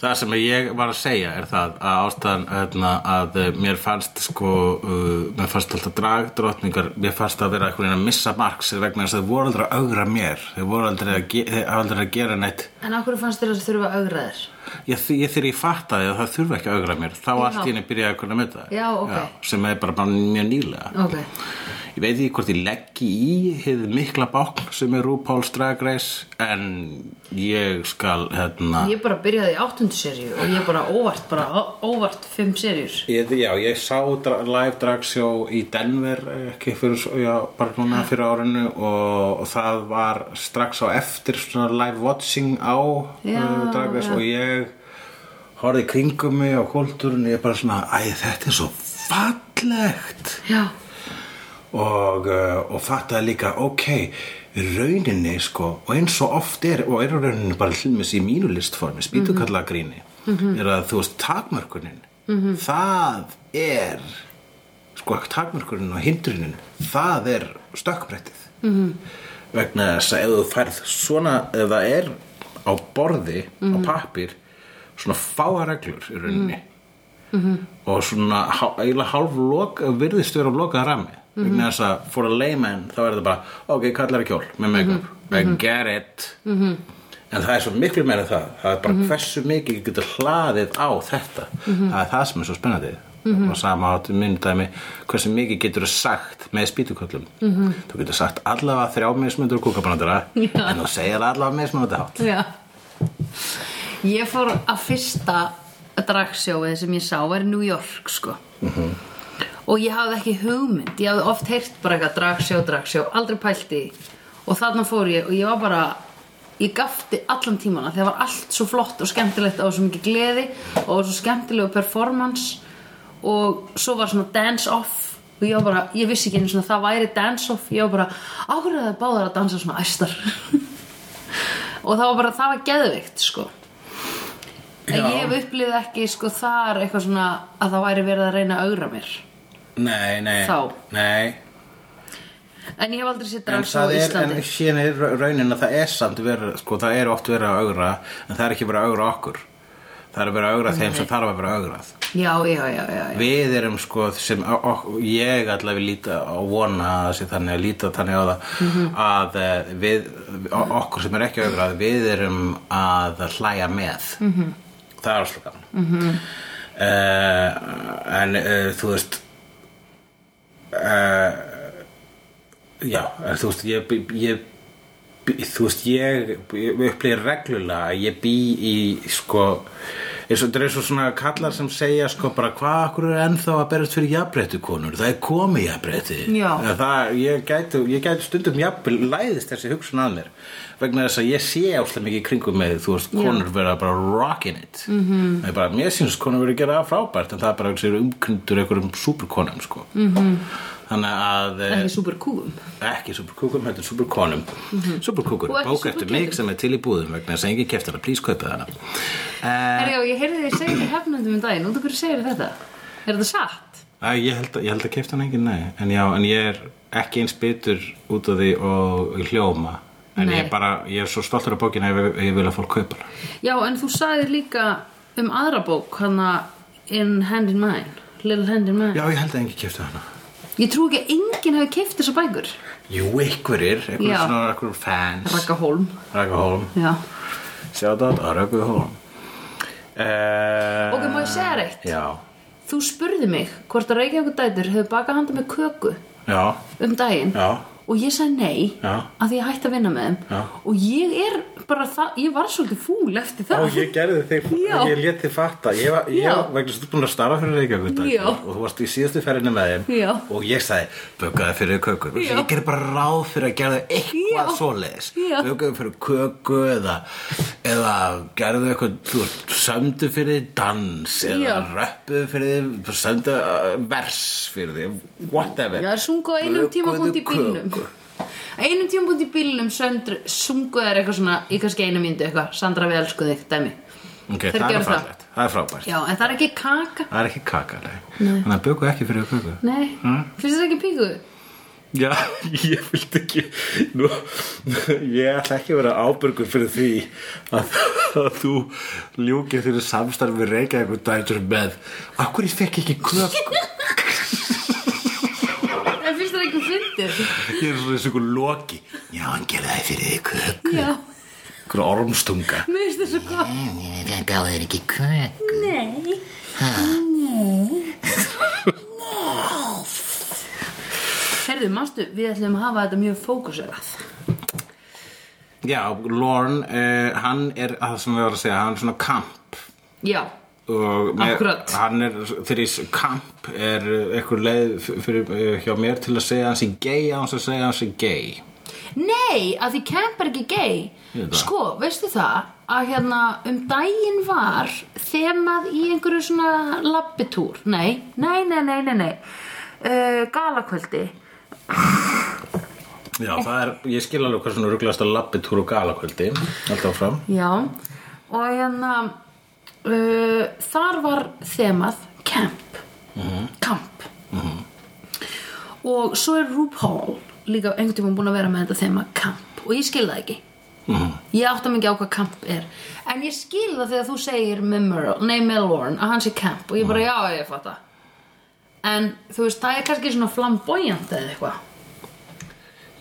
Það sem ég var að segja er það að ástæðan hérna, að eh, mér fannst sko, uh, mér fannst alltaf dragdrottningar, mér fannst að vera einhvern veginn að missa marks vegna þess að þau voru aldrei að augra mér, þau voru aldrei að, ge þau aldrei að gera neitt
En okkur fannst þér að þurfa að augra þér
ég, ég þegar ég fattaði að það þurfa ekki að augra mér þá allt í henni byrjaði að kunna með það
Já, ok.
sem er bara bara mjög nýlega
Ok,
Ég veit ekki hvort ég leggi í hið mikla bákn sem er RuPaul's Drag Race en ég skal hérna
ég bara byrjaði í áttundu seríu og ég bara óvart, bara ó- óvart fimm seríur
Ég, já, ég sá dra live dragsjó í Denver eh, ekki fyrir, svo- já, bara núna
Ah.
fyrir árinu og, og það var strax á eftir svona live watching á
Já,
uh, dragvis
já.
og ég horfði í kringum mig á kólturinn ég bara svona, æ, þetta er svo fallegt
Já,
og, uh, og fattaði líka ok, rauninni sko og eins og oft er, og er rauninni bara hlumins í mínu listformi, spýtukallagríni er að þú veist takmörkunin það er sko takmörkunin og hindrunin það er stökkbrettið vegna þess að ef þú færð svona, ef það er á borði, á pappir svona fáa reglur í rauninni og svona há- eiginlega hálf lok, virðist vera lokað rami
Mhm.
vegna þess að for a layman þá er það bara, ok, kallar er kjól með make-up,
Mhm.
I get it -hmm. en það er svo miklu meira en það það er bara
Mhm.
hversu mikið ég getur hlaðið á þetta, það er það sem er svo spennandi
Mhm.
og sama áttu myndæmi hversu mikið getur sagt með spýtuköllum -hmm. þú getur sagt allavega þrjá mismundur kúkabrandara
Mhm. Já.
en þú segir allavega mismundur hátt
já Ég fór að fyrsta dragsjóið sem ég sá var í New York sko og ég hafði ekki hugmynd ég hafði oft heyrt bara eitthvað dragsjó, dragsjó aldrei pælt í og þarna fór ég og ég var bara ég gafti allan tímana þegar var allt svo flott og skemmtilegt og svo mikið gleði og svo skemmtilegu performance og svo var svona dance off og ég var bara, ég vissi ekki einu svona það væri dance off, ég var bara áhverjaði báðar að dansa svona æstar og það var bara, það var geðveikt sko en
Já.
ég hef upplýð ekki sko þar eitthvað svona að það væri verið að reyna að augra mér
nei, nei,
Þá.
nei
En ég hef aldrei séð
En
dragsjó
það
á
er, en
Íslandi
hérna er raunin að það er samt verið, sko, það er oft verið að augra, en það er ekki verið að augra okkur. Það er verið að augra þeim sem þarf að vera augrað.
Já, já, já, já, já.
Við erum, sko, sem o- o- ég allavega líta og vona að sé þannig að líta þannig á það
Mhm.
að eh, við, o- okkur sem er ekki augrað, við erum að hlæja með.
Mhm.
Það er slúkan. Mm -hmm. en uh, þú veist, Já, en þú veist, ég, ég, ég þú veist, ég, ég upplýði reglulega að ég bý í, sko, eins og þetta er eins og svona kallar sem segja, sko, bara hvað akkur er ennþá að berast fyrir jafnbreyttu konur, það er komið jafnbreytti.
Já.
Það, ég gæti, ég gæti stundum jafnvel, læðist þessi hugsun að mér, vegna þess að ég sé áslega mikið í kringum með, þú veist, konur vera bara rockin' it. Mm -hmm. Það er bara, mér sínst konur vera að gera það frábært, en það er bara þessi umkyndur einhverjum superkonum, sko. Mm -hmm. Þannig að... eh,
Ekki súper kúum
ekki superkúkum, heldur superkonum mm
Mhm.
-hmm. superkúkur,
Og ekki
bók eftir mig sem er til í búðum vegna þess að engin keftar að plís kaupa þarna eh,
Herjá, ég heyrði þér segja hefnundum um daginn Út af hverju segir þetta? Er þetta satt?
að, ég, held að, ég held að keftan engin, nei en já, en ég er ekki eins bitur út af því og hljóma en
Nei.
ég er bara, ég er svo stoltur af bókina ef ef ég vil að fólk kaupa hana
Já, en þú sagðir líka um aðra bók hana In Hand in Mine
Little Handin Man
Já, ég held að engin kefti hana
Ég trú ekki að enginn hafi keift þessar bækur
Jú, einhverjir, einhverjir
Já.
svona einhverjir fans
Raka Holm
Raka Holm
Já.
Sjáðat að Raka Holm eh,
Ok, má ég segja þér eitt?
Já,
Þú spurði mig hvort að Reykjavík dætur hefur bakað handa með köku
já,
um daginn
já
og ég sagði nei
Já.
að því ég hætti að vinna með þeim
Já.
og ég er bara það, ég var svolítið fúl eftir það
ég gerði þig,
Já.
ég let þig fatta Ég var, ég
Já.
var vegna þess að þú ert búin að starfa fyrir Reykjavík
Já.
Og þú varst í síðustu ferðinni með þeim
Já.
Og ég sagði, böggaði fyrir köku
Já.
Ég gerði bara ráð fyrir að gerða eitthvað
Já.
svoleiðis
Já.
Böggaði fyrir köku eða, eða gerðu eitthvað Þú veist, sömdu fyrir þig dans Eða
Já.
röppuðu fyrir þig, sömdu uh, vers fyrir þig Whatever
Já, það er sungu á einum
Bökuðu
tímapunkt í bílnum
köku.
Á einum tímapunkt í bílnum söndru, sungu þær eitthvað svona í kannski einu myndu eitthvað, Sandra við elsku þig, dæmi
Ok,
Þeir
það
gerðu
er
það.
frábært Það er frábært
Já, en það er ekki kaka
Það er ekki kaka, nei. Þannig að böku ekki fyrir köku.
Nei, finnst það ekki píku?
Já, ég vildi ekki, nú, ég ætla ekki að vera ábyrgur fyrir því að, að þú ljúkir þínu samstarf við reykja einhvern dætur með Akkur ég fekk ekki köku,
En finnst það ekki fyndið?
ég er svona eins og einhver loki Já, hann gerði það fyrir því köku,
Já,
einhver ormstunga
mér finnst það svo gott
Það gáði þér ekki köku
Herðu, manstu, við ætlum að hafa þetta mjög fókuserað
Já, Lorne, eh, hann er, að það sem við varum að segja, hann er svona kamp
Já,
og með,
Akkúrat.
hann er þeirri kamp er eitthvað leið f- fyrir eh, hjá mér til að segja hann sem gay án sem segja hann sem gay
nei, að því Kemp er ekki gay
veit það.
Sko, veistu það að hérna um daginn var þemað í einhverju svona labbitúr, nei, nei, nei, nei, nei, nei. Uh, galakvöldi
Já, það er, ég skil alveg hvað svona rugglast að labbitúr og galakvöldi alltaf fram
Já, og hérna uh, þar var þemað camp camp og svo er RuPaul líka einhvern tímann búin að vera með þetta þema camp og ég skil það ekki ég átta mig ekki á hvað camp er en ég skil það þegar þú segir með Merle, nei með Lorne að hann sé camp og ég bara já ég fatt það en þú veist það er kannski svona flamboyant eða eitthvað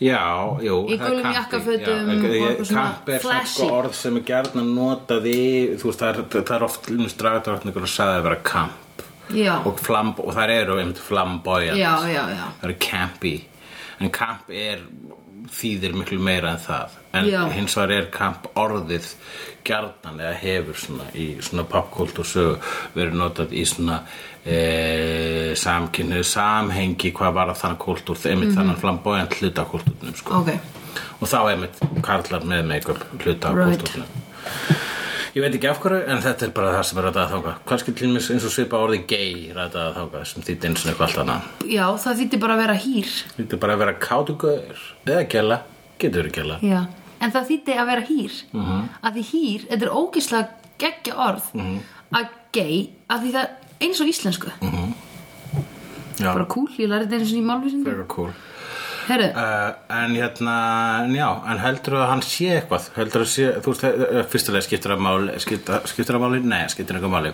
Já, jú
Í
það er
gulum
kampi,
jakkafötum
já,
og
ég-
svona
Kamp er svona
flashy.
sko orð sem er gjarnan notað í Þú veist, það er, það er oft Lúnus dragatortningur og sagði að vera kamp
já,
og, flamb, og það eru einmitt flamboyant
já, já, já
það eru campi en camp er þýðir miklu meira en það en
Já.
hins vegar er camp orðið gjarnan eða hefur svona í svona popkult og sögu verið notað í svona e, samkynnu samhengi hvað var að þann kultúr einmitt
Mhm.
þannan flamboyant hluta kultúrnum sko.
ok,
og þá einmitt karlar með make-up hluta
Right.
kultúrnum Ég veit ekki af hverju, en þetta er bara það sem er rætað að þáka. Kannski til mér eins og svipa orði gay rætað að þáka, sem þýtti eins og eitthvað allt annað.
já það þýtti bara að vera hýr
Þetta er bara að vera kátugur eða gæla, getur verið gæla
Já, en það þýtti að vera hýr að því hýr, þetta er ógislega geggja orð að gei, að því það eins og íslensku
Já,
bara cool, ég lærði þetta eins og í málvísindum
frekar cool
Herru,
uh, En hérna, en já, en heldur að hann sé eitthvað heldur að sé, þú veist, eh, fyrstulega skiptir að máli skiptir, skiptir að máli, nei, skiptir eitthvað máli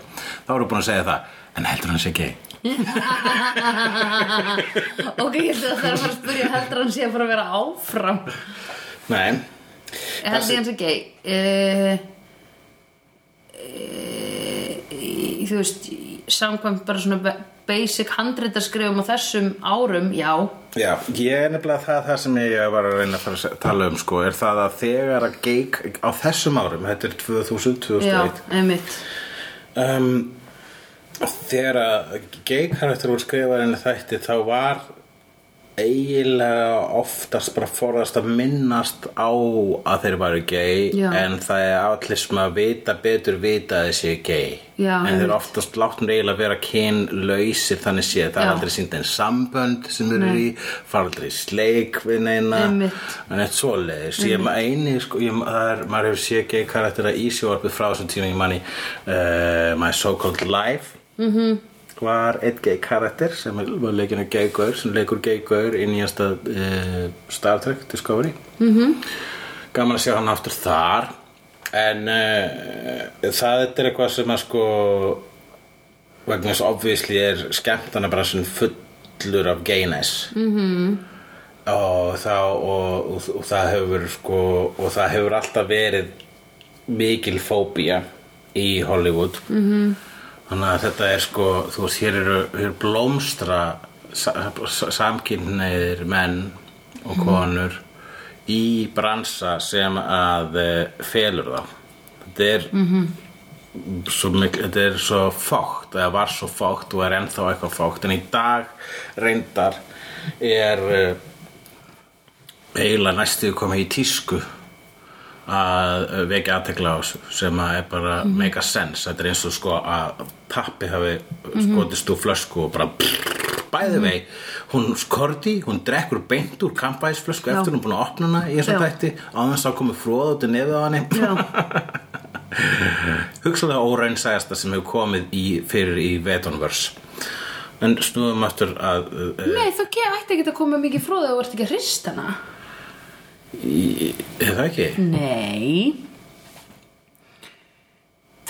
þá erum búin að segja það, en heldur að hann sé gay
ok, ég held að það er að fara að spyrja heldur hann sé að fara að vera áfram
Nei,
heldur hann sé gei uh, uh, þú veist samkvæmt bara svona be- basic handritarskrifum á þessum árum, já
já, ég er nefnilega það, það sem ég var að reyna að fara að se- tala um sko, er það að þegar að gay á þessum árum, þetta er 2000,
já,
2001
einmitt
um, þegar að gay karakter voru skrifað inn í þætti þá var eiginlega oftast bara forðast að minnast á að þeir væru gay
Já.
en það er allir sem að vita betur vita að þeir séu gay
Já,
en þeir
einmitt.
eru oftast látnum eiginlega að vera kynlausir þannig sé það
Já.
er aldrei sínd en sambönd sem þeir eru í fara aldrei í sleik við neina
Einmitt.
hérna. en þetta svoleiðis ég maður eini, sko, ég, það er, maður hefur séð gay karaktera í sjóarpið frá þessum tíma ég manni uh, My So Called Life -hmm. var einn gay karakter sem er- var leikinu gay gaur sem leikur gay gaur í nýjasta uh, Star Trek Discovery mm -hmm. gaman að sjá hann aftur þar eh, en uh, það þetta er eitthvað sem að sko vegna þess að obvísli er skemmtanabransin fullur af gayness mm -hmm. og, það, og, og, og það hefur sko, og það hefur alltaf verið mikil fóbía í Hollywood -hmm. þannig að þetta er sko þú veist, hér eru hér eru blómstra sa- sa- samkynhneigðir menn og konur í bransa sem að eh, felur þá þetta er -hmm svo mikil, þetta er svo fókt eða var svo fókt og er ennþá eitthvað fókt en í dag reyndar er eh, eiginlega næstu komið í tísku að eh, vekja aðtekla á þessu sem að er bara
Mhm.
mega sense þetta er eins og sko að pappi hafi
Mhm.
skotist úr flösku og bara bæði vei, hún skorti hún drekkur beint úr kampæðisflösku eftir hún er búin að opna hana í þessum
Já.
tætti á þess að komið fróð út í nefið á henni
Já,
hugsalega óraunsægasta sem hefur komið í, fyrir í Vetonverse en snúðum aftur að uh,
Nei, þú ge- ætti ekki að koma mikið fróð að þú ert ekki að hrista hana.
í- er það ekki?
nei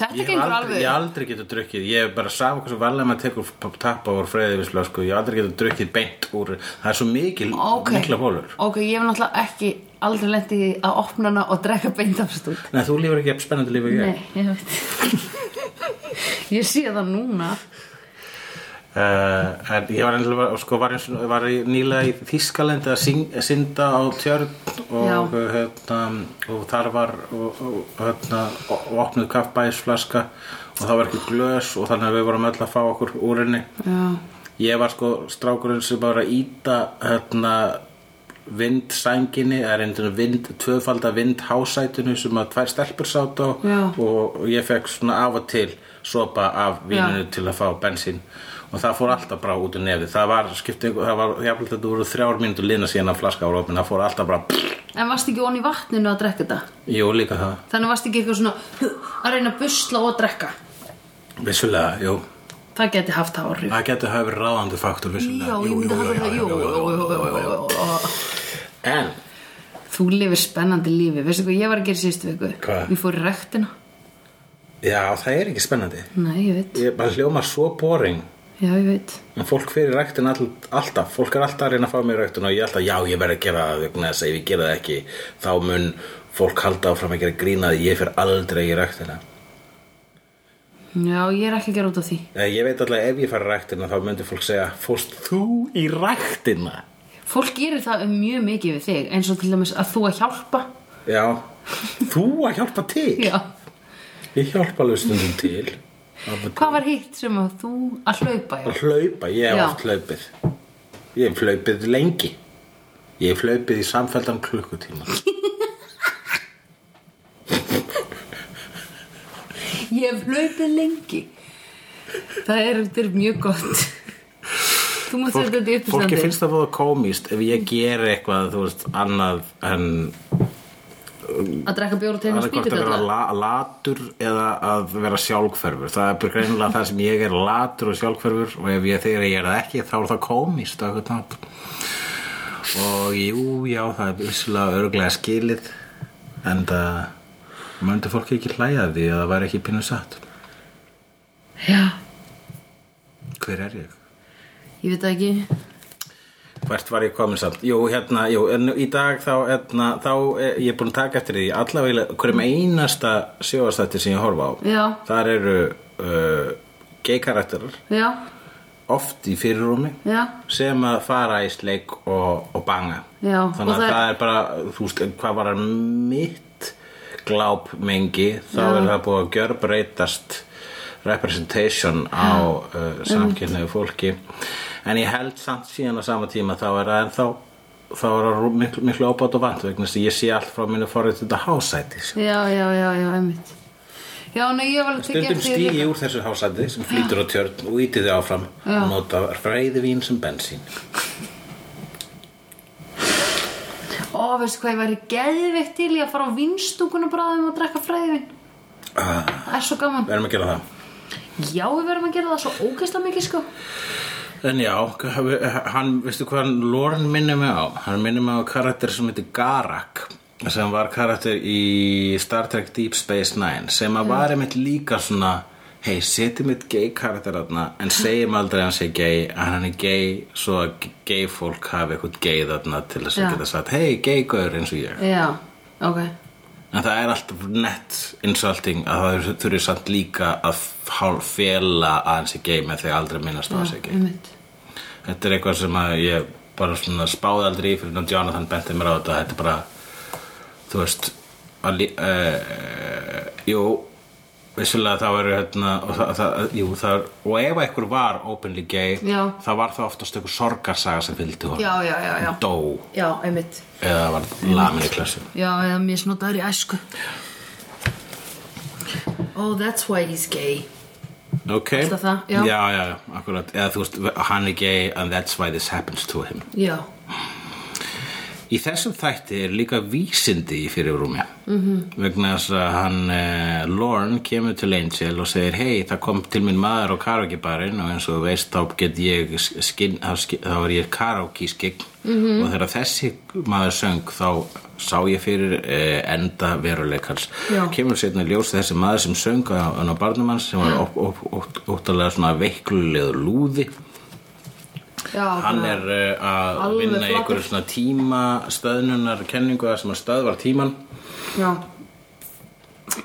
Þetta
Ég hef
gengur
aldrei,
alveg.
ég hef aldrei getur drukkið ég hef bara sama hversu varlega maður tekur tappa úr freyðivisla sko. ég hef aldrei getur drukkið beint úr það er svo mikil,
Ok.
mikla bólur
Ok, ég hef náttúrulega ekki aldrei lent í því að opna hana og drekka beint af stúl
Nei, þú lífur ekki eftir spennandi lífið ég
Nei, ég veit Ég sé það núna
uh, en ég var, ennlega, sko, var, eins, og- var í- nýlega í Þískaland að syng- að synda á tjörn og,
Já.
hérna, og þar var og, og, hérna, og opnuð kaffbæðisflaska og það var ekki glös og þannig að við vorum öll að fá okkur úr henni
Já,
ég var sko strákurinn sem bara íta hérna vindsænginni, það er einhvern vind, tvöfalda vindhásætinu sem að tvær stelpur sátt á
Já.
og ég fekk svona af og til sopa af víninu til að fá bensín og það fór alltaf bara út um nefið það var skiptingu, það var jafnvel þetta voru þrjár mínútur lina síðan að flaska á rópin það fór alltaf bara, pff,
en varstu ekki onni í vatninu að drekka þetta?
jú líka það
Þannig varstu ekki eitthvað svona að reyna að busla og drekka
vissulega, jú,
Það geti haft áhrif
það getur hafa verið ráðandi faktur
Já,
vissulega,
ég myndi að hafa það, jú, jú, jú, jú, jú, jú.
en
Þú lifir spennandi lífi, veistu hvað ég var að gera síðustu viku?
Hvað?
Ég fór í rektina
já, það er ekki spennandi
Nei, ég veit,
ég bara hljóma svo boring
já, ég veit
En fólk fyrir ræktin all, alltaf, fólk er alltaf að reyna að fá mér ræktin og ég alltaf, já, ég verð að gera það vegna þess að ef ég gera það ekki, þá mun fólk halda áfram að gera grínað, ég fyrir aldrei í ræktina.
Já, ég er ekki að gera út af því
Eh, Ég veit alltaf ef ég fara ræktina þá myndi fólk segja, fórst þú í ræktina?
Fólk gerir það um mjög mikið við þig eins og til dæmis að þú að hjálpa
Já, þú að hjálpa til.
Já,
Ég hjálpa alveg stundum til.
hvað var hitt sem að þú að hlaupa já?
Að hlaupa, ég hef
Já.
oft hlaupið. Ég hef hlaupið lengi. Ég hef hlaupið í samfældan klukkutíma.
Ég hef hlaupið lengi Það er, þetta er mjög gott Þú mátt setja þetta í
fólki
uppistandi
finnst það fóða komist ef ég ger eitthvað þú veist, annað en
að drekka bjór og tegna
annað hvort að vera
spýtubjölla
la, latur eða að vera sjálfhverfur það er bara greinilega það sem ég er latur og sjálfhverfur og ef ég þegar ég er það ekki þá er það komist á eitthvað nátt og jú, já, það er vissulega örglega skilið en það möndi fólki ekki hlæja að því að það væri ekki pínu satt
Já,
hver er ég?
ég veit það ekki
Hvert var ég komin samt? Jú, hérna, jú, en í dag þá, hérna, þá eh, ég er búin að taka eftir því allavega hverjum einasta sjóastætti sem ég horfa á.
Já.
Þar eru uh, gay karakterar
Já,
oft í fyrirrúmi
já,
sem að fara í sleik og, og banga.
Já, og
Þannig að
það er-
það er bara, þú veist, hvað var mitt glápmengi, þá er það búið að gjörbreytast representation á uh, samkynniðu fólki. En ég held samt síðan á sama tíma þá er það ennþá þá er það rú- miklu, miklu ábátt og vant vegna þess að ég sé allt frá mínu forrið þetta hásæti
já, já, já, já, einmitt Já, nei, ég var alveg tekið
stundum
eftir því
stýg
líka.
ég úr þessu hásæti sem flýtur á tjörn og ítið þið áfram og nota freyðivín sem bensín
Ó, veistu hvað, ég væri geðveitt til í að fara á vinstunguna bráðum og drekka fræðin
ah,
Það er svo gaman
verðum að gera það
Já, við verðum að gera það svo ógeðslega mikið, sko
En já, hann, veistu hvað hann Loren minnir mig á? Hann minnir mig á karakter sem heitir Garak sem var karakter í Star Trek Deep Space Nine sem að var einmitt líka svona hei, setjum eitt gay karakter þarna en segjum aldrei að hann sé gay að hann er gay svo að gay fólk hafi eitthvað gay þarna til þess að
Já.
geta sagt hei, gay gaur eins og ég
Já, ok
en það er alltaf nett insulting að það þurfi samt líka að hál- fela að hann sé gay með því að aldrei minnast á að hann sé gay
einmitt.
Þetta er eitthvað sem að ég bara svona spáði aldrei í fyrir náttúrulega Jonathan benti mér á þetta þetta er bara, þú veist að lí... Uh, jú, vissulega það eru hérna, og það, það, jú, það er, og ef einhver var openly gay,
Já.
það var það oftast einhver sorgarsaga sem fylgdi hún
Já, já, já, já. Mm.
dó
Já, einmitt
eða var lamin í klassu
Já, eða mér snotaður í æsku Oh, that's why he's gay
Ok,
Alltaf það, já.
já, já, já, akkurat eða þú veist, hann er gay and that's why this happens to him
Já,
Í þessum þætti er líka vísindi í fyrirrúmi -hmm. vegna þess að hann eh, Lorne kemur til Angel og segir hei það kom til minn maður á karaokebarinn og eins og þú veist þá get ég skin, þá, ski- þá er ég karaoke-skign -hmm. og þegar þessi maður söng þá sá ég fyrir eh, enda veruleikans
Já.
kemur sérna ljós að þessi maður sem söng á, á barnum hans sem var ótt- ótt- ótt- óttalega svona veiklulegur lúði
Já,
hann er uh, að
Alveg
vinna í
flatur.
einhverju svona tíma stöðnunar kenningu þar sem að stöðvar tíman
Já,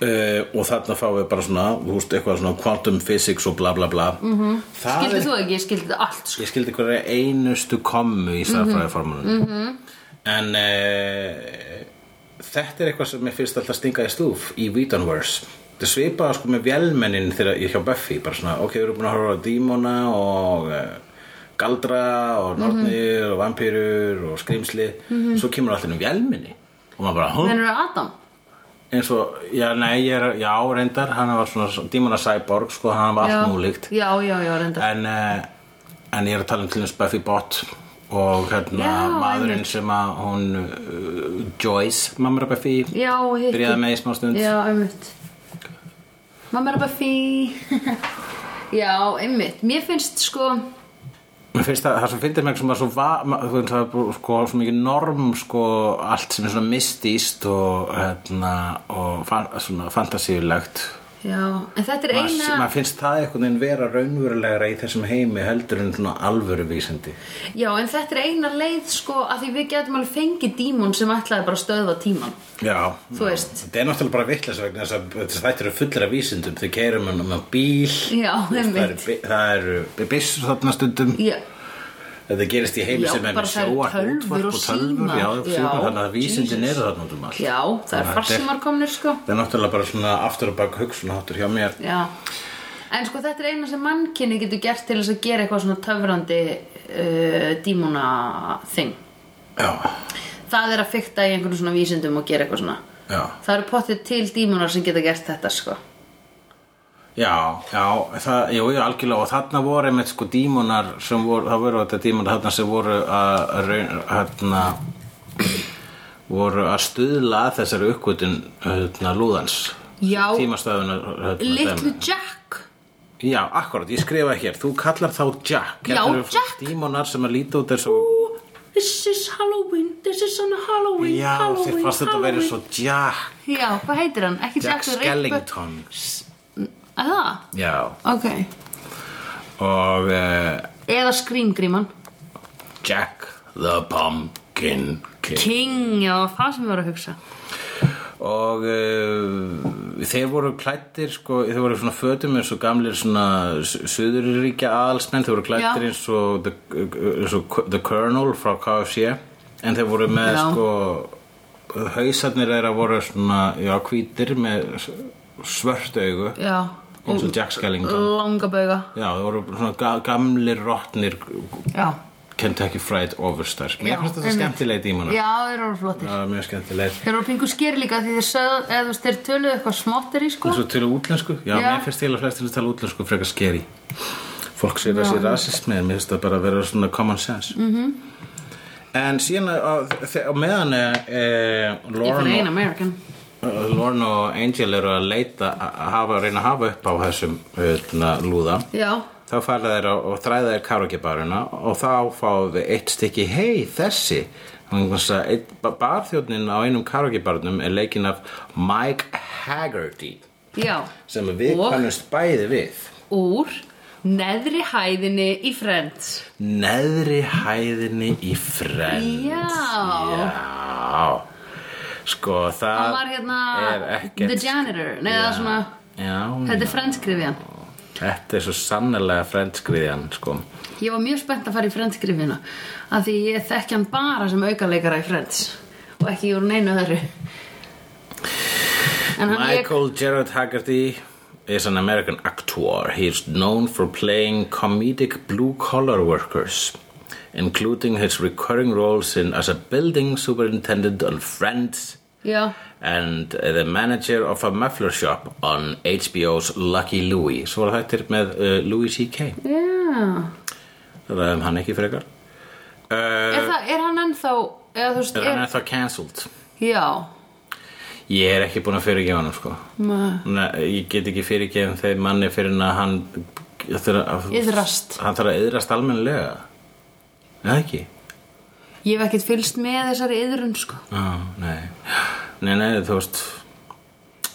uh, og þarna fáum við bara svona þú veist, eitthvað svona quantum physics og bla bla bla mm -hmm.
skildi þú ekki, ég skildi allt sko.
ég skildi hverja einustu kommu í starffræðiformulunni en uh, þetta er eitthvað sem mér finnst alltaf stinga í stúf í Whedonverse þetta svipaða sko með vélmennin þegar ég hjá Buffy bara svona, ok, við erum búin að horfa á dímona og uh, galdra og nornir og vampýrur og skrimsli svo kemur alltaf um vélmenni og maður bara, hm?
hann er Adam
eins og, já, nei, ég er, já, reyndar hann var svona, dímona cyborg sko, hann var allt múlíkt
Já, já, já, reyndar
en, eh, en ég er að tala um til þess Buffy Bott og hérna
Já,
maðurinn sem að hún uh, Joyce, mamma er Buffy
Já, hitti
byrjaði með í smá stund
Já, einmitt Mamma er að bara fí Já, einmitt Mér finnst sko
Mér finnst það, það sem finnir mig sem var svo va, ma- þú veist, það er bú- sko, svo mikið norm sko, allt sem er svona mystíst og, hérna, og fan, svona fantasíulegt
Já, en þetta er
maður
eina
maður finnst það einhvern veginn vera raunverulegra í þessum heimi heldur en svona alvöru vísindi
Já, en þetta er eina leið sko að því við getum alveg fengið dímon sem ætlaði bara að stöðva tíman
Já,
Þú veist.
Þetta er náttúrulega bara vittlis vegna þess að þess að þetta eru fullra vísindum Þau keirum um á bíl
Já,
það eru,
einmitt.
bi- það eru byssur þarna stundum
Já,
Þetta gerist í heimi
Já,
sem er
bara
með
það eru
sjóar
tölvur og
og tölvur
símar.
Já, símar,
Já,
þannig að vísindin
Jesus.
eru þarna út um allt
já, það
Þannig
er
að þetta
farsumar komnir sko
Það er náttúrulega bara svona aftur og bak hugsunaháttur hjá mér
Já, en sko þetta er eina sem mannkinni getur gert til þess að gera eitthvað svona töfrandi uh, dímona þing.
Já,
Það er að fykta í einhvern svona vísindum og gera eitthvað svona.
já,
Það eru pottið til dímonar sem geta gert þetta sko.
já, já það, Jú, jú, algjörlega og þarna voru einmitt sko dímonar sem voru, það voru þetta dímonar þarna sem voru að raun, hérna voru að stuðla að þessari uppgötun hérna, lúðans
Já,
tímastöðunar hérna,
litlu
dæmi.
Jack.
Já, akkurat, ég skrifa hér, þú kallar þá Jack
Já,
Þetta eru
Jack.
Dímonar sem að líta út þessu
This is Halloween, this is on Halloween,
Já,
Halloween,
þér fannst þetta að vera
Halloween.
svo Jack
Já, hvað heitir hann? Ekki
Jack
Jack, the Ripper.
Skellington
Að það?
Já,
Ok.
og uh,
Eða Skrýmgríman.
Jack the Pumpkin King
King, já, það sem ég var að hugsa.
og uh, þeir voru klættir sko, þeir voru svona fötum eins og gamlir svona suðuríkja aðalsmenn þeir voru klættir
Já.
eins og, the, eins og The Colonel frá KFC en þeir voru með
Já.
sko hausarnir þeirra voru svona já, hvítir með s- svört augu
Já,
eins og Jack Skellington
langabauga.
já, þeir voru svona ga- gamlir rottnir
Já.
Kentucky Fried Overstars mér
Já,
finnst þetta
einmitt.
skemmtilegt í manna
Já, þeir eru flottir.
það er mjög skemmtilegt
Þeir eru pingu skeri líka því þeir sögðu, eða þú veist, þeir töluðu eitthvað smottir í sko.
eins og tala útlensku já,
Já.
mér finnst til að flestir tala útlensku frekar skeri fólk sér að sé rasismi en mér finnst það bara að vera svona common sense
Mhm.
-hmm. en síðan á, á meðan eh,
Ég fann ein
Lorne,
American.
og- eh, Lorne og Angel eru að leita að að hafa, reyna að hafa upp á þessum hérna, lúða
Já.
þá fara þeir á- og þræða þeir karaokebaruna og þá fáum við eitt stykki hei þessi Þannig að einn- barþjónninn á einum karaokebarnum er leikinn af Mike Haggerty
já,
sem við
Og?
kannumst bæði við
úr neðri hæðinni í Friends
neðri hæðinni í frend
Já.
já. sko það
hann var hérna
er ekkert
The Janitor, neða svona
já,
þetta er Friends grifjan
þetta er svo sannlega frendskriðjan sko.
ég var mjög spennt að fara í Friends grifjuna af því ég þekki hann bara sem aukaleikara í Friends og ekki úr neinu öðru en hann leik
Michael Gerard Haggerty is an American actor. He is known for playing comedic blue collar workers, including his recurring roles in as a building superintendent on Friends
já,
and uh, the manager of a muffler shop on HBO's Lucky Louie. Svo var þetta með uh, Louis C.K.
já
Það er um hann ekki frekar. Uh,
er, það, er hann ennþá eða þú veist,
er hann ennþá cancelled?
já
Ég er ekki búin að fyrirgefa hann, sko.
Nei.
Nei, ég get ekki fyrirgefin þeim manni fyrir en að hann
Iðrast.
Hann þarf að yðrast almennilega Eða ekki?
ég hef ekkert fylst með þessari yðrun sko
Já, nei Nei, nei, þú veist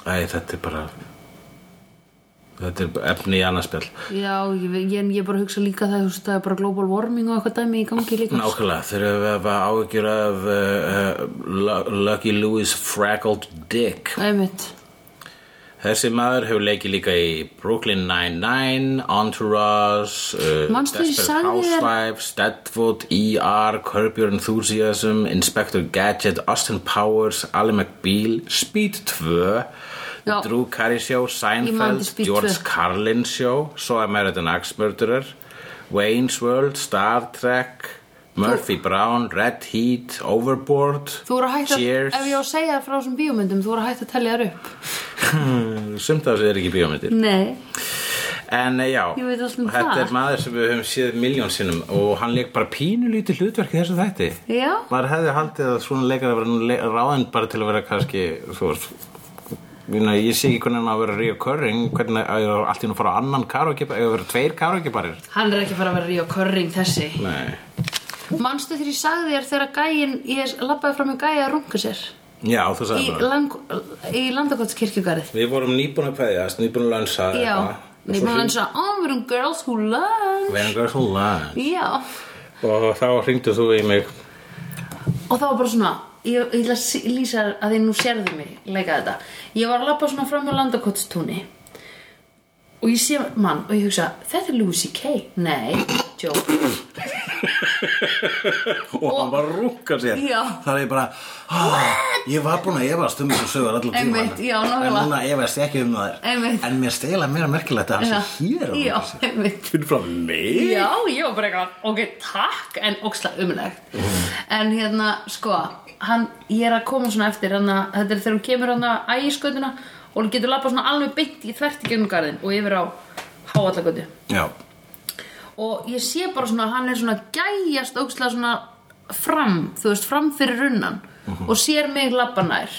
Æ, þetta er bara Þetta er efni í annarspjall
Já, ég, ég, en ég bara hugsa líka það, þú veist, það er bara global warming og eitthvað dæmi í gangi líka.
Nákvæmlega, þegar við hafa áhyggjur af uh, uh, Lu- Lucky Louis Fraggled Dick
Einmitt.
Þessi maður hefur leikið líka í Brooklyn Nine-Nine, Entourage, uh,
Manstu, ég
Desperate
sagði þér-
Housewives, Deadwood, ER, Curb Your Enthusiasm, Inspector Gadget, Austin Powers, Ally McBeal, Speed 2,
Já.
Drew Carey Show,
man
Seinfeld,
eftir Speed
George
2.
Carlin Show, So American Axe Murderer, Wayne's World, Star Trek, Murphy Brown, Red Heat, Overboard,
Þú voru að hætta,
Cheers.
ef ég á að segja það frá þessum bíómyndum, þú voru að hætta að tellja þar upp.
Sumt af þessu er ekki bíómyndir.
Nei.
En eh, já,
Ég veit allt um
þetta
það.
er maður sem við höfum séð miljón sinnum og hann leik bara pínulítið hlutverk í þessu þætti.
Já.
Maður hefði haldið að svona leikar að vera le- ráðinn bara til að vera kannski, þú veist, Ég, ég sé ekki hvernig hann á að vera reoccurring, hvernig að ég allt í nú fara á annan karaokebar, eða vera tveir karaokebarir.
Hann er ekki að fara að vera Ríó Körring þessi.
Nei.
Manstu þegar ég sagði þér þegar gæin, ég labbaði fram með gæja að runga sér
Já, þú
í,
sagði bara.
lang, í landakotskirkjugarið.
Við vorum nýbúin að kveðja, nýbúin að lansa.
Já. Nei, maður eins og, oh, we're girls who learn.
Vengar svo lansa.
Já.
Og þá hringdu þú í mig.
og það var bara svona ég, ég ætla að sí- lýsa þér að því nú sérðu mig leika þetta, ég var að labba svona fram á landakotstúni og ég sé mann og ég hugsa þetta er Louis C.K. Nei, joke
og, hann var að rúka sér
Já.
þar er ég bara "Ah, ég var búin að efast um þessu sögur allan
Einmitt, já,
en
nákvæmlega.
núna efast ég ekki um þær
Einmitt.
en mér stela meira merkilegt að hann sé hér
Já, einmitt
fyrir frá mig
Já, ég var bara eitthvað, ok, takk en óksla umlegt en hérna, sko, hann ég er að koma svona eftir, hann að þetta er þegar hún kemur hann að ægiskötuna og hún getur labba svona alveg beint í þvert í gegnum garðin og yfir á háallagötu
já,
og ég sé bara svona að hann er svona gæjast ógslag svona fram, þú veist, fram fyrir runnan og sér mig labba nær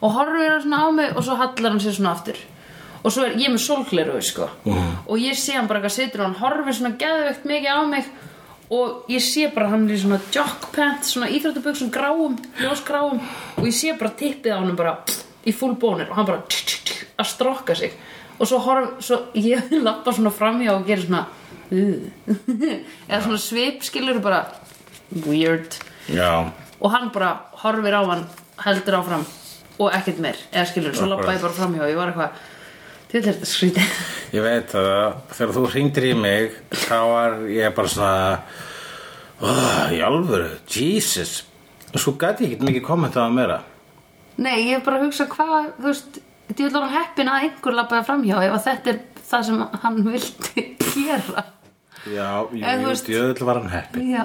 og horfir hann svona á mig og svo hallar hann sér svona aftur og svo er ég með sólgleru, sko og ég sé hann bara eitthvað situr og hann horfir svona geðvegt mikið á mig og ég sé bara hann er í svona jockpant, svona íþróttabuxum gráum, ljósgráum og ég sé bara tippið á hann bara í full bónir og hann bara að strokka sig og svo horf, svo ég lappa svona framhjá og gera svona "Ugh." eða svona svip skilur bara weird
já,
og hann bara horfir á hann heldur áfram og ekkert meir eða skilur, svo lappa ég bara framhjá og ég var eitthvað til þetta skrítið
ég veit að þegar þú hringdir í mig þá var ég bara svona oh, í alvöru, Jesus og svo gæti ég ekki mikið kommentað að meira
Nei, ég hef bara að hugsa hvað, þú veist, ég vil hann heppin að einhver labbaði framhjá ef að þetta er það sem hann vildi gera.
já, ég
En þú
veit,
veist-
ég öll var hann heppi
Já,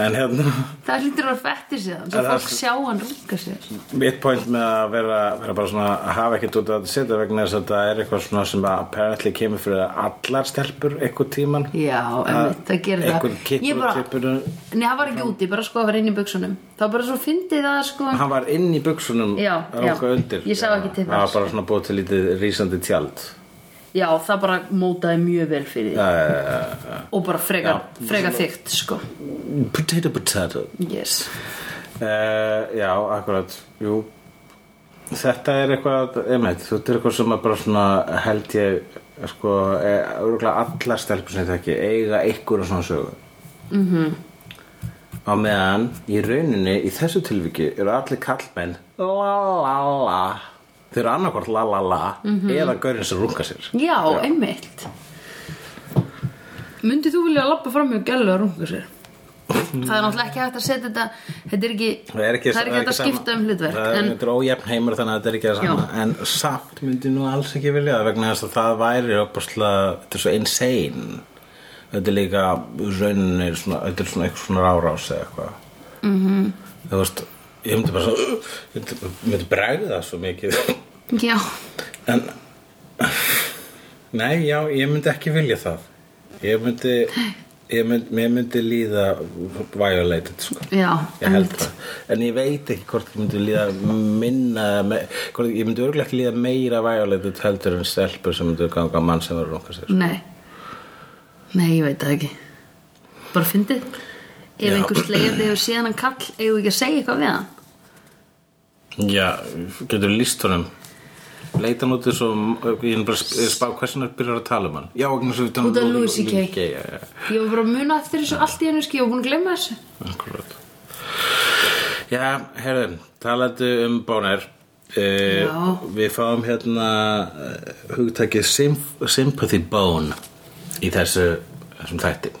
en hérna
það hlýtur að vera fettir síðan, svo
En það-
fólk sjá hann runga sér.
mitt point með að vera, vera bara svona að hafa ekkert út að setja vegna þess að það er eitthvað svona sem að apparently kemur fyrir allar stelpur eitthvað tíman
Já, einmitt, það gerir það.
eitthvað
Ég
kippur
bara-
og kippur
Nei, hann var ekki úti, bara sko að vera inn í buksunum. Það var bara svo fyndið að sko,
hann var inn í buksunum
Já,
ranka
já.
undir
Ég sá
Já,
ekki til
það var
þess.
bara svona búið til lítið rísandi tjald
já, það bara mótaði mjög vel fyrir því.
uh,
Og bara frekar, frekar þygt, sko.
potato potato
Yes.
Eh, uh, já, akkurat, jú þetta er eitthvað einmitt, þetta er eitthvað sem að bara svona held ég sko, örgulega alla stelpur sem þetta ekki eiga einhverja svona sögu á meðan í rauninni í þessu tilviki eru allir kallmenn la la la þeir eru annarkvort la la la eða gaurinn sem runga sér
Já, einmitt Myndið þú vilja labba fram hjá gælu að runga sér?
það er náttúrulega ekki hægt að setja þetta þetta er ekki,
það er ekki,
það er ekki hægt að
sama.
skipta um hlutverk
það er,
en,
þetta er ójafn heimur þannig að þetta er ekki að sama en samt myndi nú alls ekki vilja það vegna þess að það væri opaslega þetta er svo insane þetta er líka í rauninni svona, þetta er svona eitthvað svona rárás eða eitthvað mm
Mhm.
-hmm. þú veist ég myndi bara svo ég myndi, ég myndi bregða svo mikið
já,
en nei já ég myndi ekki vilja það ég myndi ég myndi, ég myndi líða violated sko
já,
ég held það en ég veit ekki hvort ég myndi líða minna me, hvort, ég myndi örgulega ekki líða meira vægulegðut heldur en stelpur sem myndi ganga að mann sem verður okkar sér
nei nei, ég veit það ekki bara fyndið ef
Já.
einhver slegið hefur séð hann kall eigum við ekki að segja eitthvað við hann
já, getur líst honum leita hann út þess og ég er bara að sp- spá hversin er byrjar að tala um hann já, vegna þess að um
Út af Louis CK.
já, já,
ég var bara að muna eftir þessu allt í hennu ég var búin að glemma þessu
akkurat já, herðum talandi um bónir Uh, við fáum hérna eh, hugtakið symp sympathy bone í þessu, þessum þætti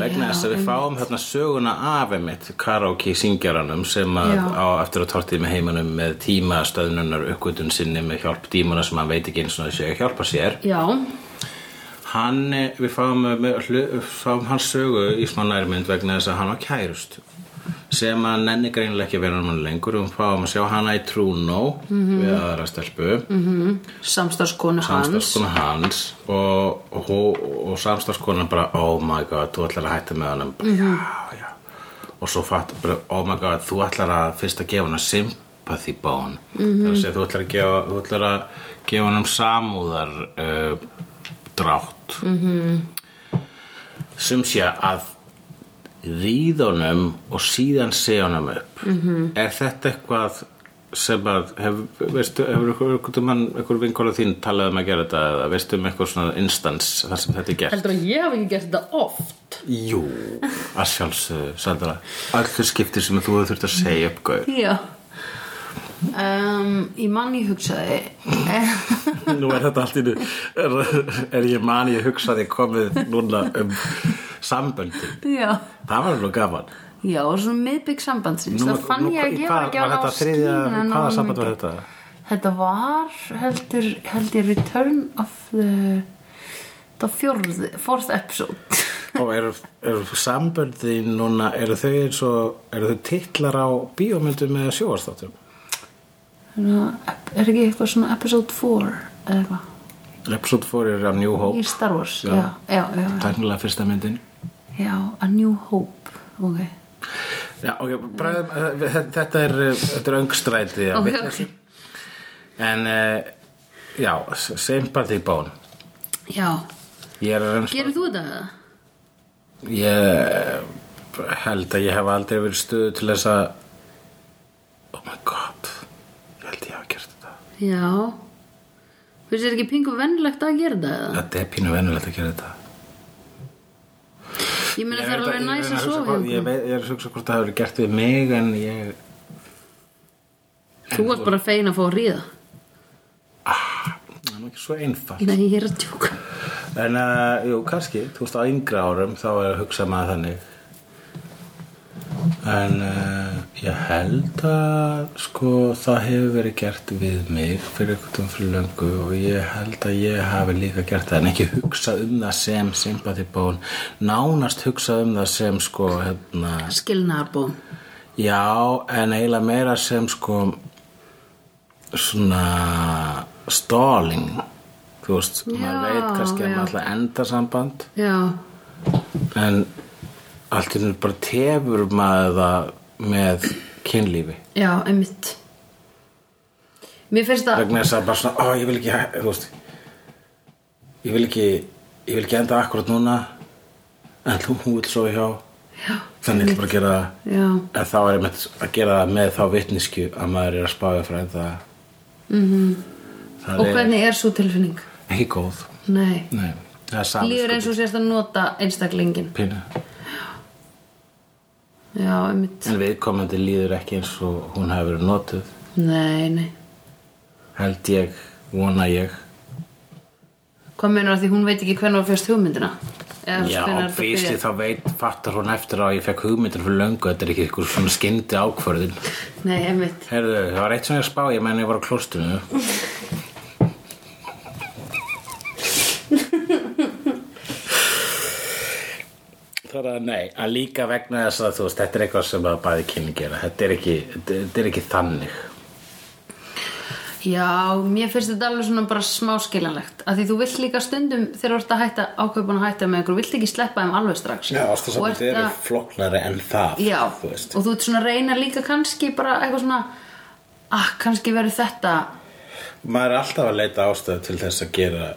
vegna
Já,
þess að við fáum hérna söguna af einmitt karaoke syngjaranum sem að
Já.
á eftir að tortið með heimanum með tímastöðnunar uppgötun sinni með hjálp dímuna sem hann veit ekki eins og þessi að hjálpa sér
já,
hann, eh, við fáum, eh, með, hlu- fáum hans sögu í smá nærmynd vegna þess að hann var kærust sem að nenni greinilega ekki að vera hann lengur og fáum að sjá hana í Trúnó við aðra stelpu
samstarfskonu hans
samstarfskona hans og, og, og, og samstarfskona bara oh my god, þú ætlar að hætta með honum bara, já, já og svo fatt, bara, oh my god, þú ætlar að fyrst að gefa hana sympathy bone það er að segja, þú ætlar að gefa, þú ætlar að gefa honum samúðar uh, drátt sem sé að ríða honum og síðan segja honum upp -hmm.
Mhm.
er þetta eitthvað sem að hef, veistu, hefur einhver- einhver, mann, einhver vinkóla þín talað um að gera þetta eða veistu um eitthvað svona instans þar sem þetta er gert
Heldur að ég hef ekki gert þetta oft
Jú, að sjálfsögðu, Sandra Allir skiptir sem þú hefur þurft að segja upp gauð
já,
um, Í manni hugsaði
Nú er þetta allt í nu er, er ég mani að hugsa því komið núna um samböndin
já
Það var nú gaman
já, og svona miðbygg sambandsins það fann ég að
í
ég
hvað-
var ekki
var
alveg
þetta þriðja,
skína
Hvaða
nógu
samband
mikið.
var þetta?
Þetta var heldur, held ég Return of the Það fjórði, fourth episode
Og eru, eru samböndin núna eru þau eins og eru þau titlar á bíómyndum eða sjóastáttum?
Svona, ep- Er ekki eitthvað svona episode 4 eða eitthvað
Episode 4 er af New Hope
Í Star Wars Já,
Já.
já, já, já,
Tæknilega fyrsta myndin
já A New Hope Ok,
Já, ok, bræðum, eh, þe- þetta er, eh, þetta er öngstræti að
okay,
vitna
okay.
En, uh, já, sympathy bone
Já,
Ég er eins og
Gerir þú þetta með það?
Ég eh, held að ég hef aldrei verið í stöðu til þess að Oh my god Ég held ég hafa gert þetta
Já Fyrst er ekki pingu vennlegt að gera þetta eða?
Þetta er pínu venulegt að gera þetta
Ég meina
Ég
það er
veit
alveg
ég
næs
er
að
hugsa
sofa
hvort-
hjá
Ég
okkur.
veit- ég er að hugsa hvort það hefur gert við mig En ég
Þú varst bara fegin að fá að ríða
Það er nú ekki svo einfalt
Nei, ég er að tjóka
En, uh, jú, kannski, þú veist, á yngra árum þá er að hugsa maður þannig En uh, ég held að, sko, það hefur verið gert við mig fyrir einhvern fyrir löngu og ég held að ég hafi líka gert það en ekki hugsa um það sem sympatibón, nánast hugsa um það sem, sko, hérna
Skilnaðarbón
Já, en eiginlega meira sem, sko, svona stalling, þú veist, maður veit kannski að maður ætla að enda samband
Já,
en allt í nú bara tefur maður það með kynlífi
já, einmitt Mér finnst það
vegna þess að bara svona, ó, ég vil ekki þú veist, ég vil ekki ég vil ekki enda akkurat núna en þú, hún vil svo hjá Já, þannig ég vil bara að gera það
Já,
en þá er ég með að gera það með þá vitnisku að maður er að spája frá enda Það
Mhm. Og hvernig er svo tilfinning?
er ekki góð
Nei.
Nei, það er samið
Líður eins og sérst að nota einstaklingin.
pínu
Já, einmitt.
En viðkomandi líður ekki eins og hún hafi verið notuð
Nei, nei.
Held ég, vona ég
Hvað meinar að því hún veit ekki hvernig var fyrst hugmyndina? Eða
Já,
hvenær þetta
fyrst
byrjaði?
þá veit fattar hún eftir að ég fekk hugmyndir fyrir löngu Þetta er ekki ykkur svona skyndi ákvörðin
Nei, einmitt.
Herðu, það var eitt sem ég spá ég menn ég var á klóstinu Það er að nei, að líka vegna þess að þú veist, þetta er eitthvað sem að bæði kynni gera Þetta er ekki, þetta, þetta er ekki þannig
Já, mér finnst þetta alveg svona bara smáskiljanlegt. Af því þú vilt líka stundum þegar þú ert að hætta, ákveðbúin að hætta með einhver, þú vilt ekki sleppa þeim alveg strax. Og ert að-
flóknari en það
Já, og þú ert svona að reyna líka kannski bara eitthvað svona, ah, kannski verður þetta,
Maður er alltaf að leita ástöðu til þess að gera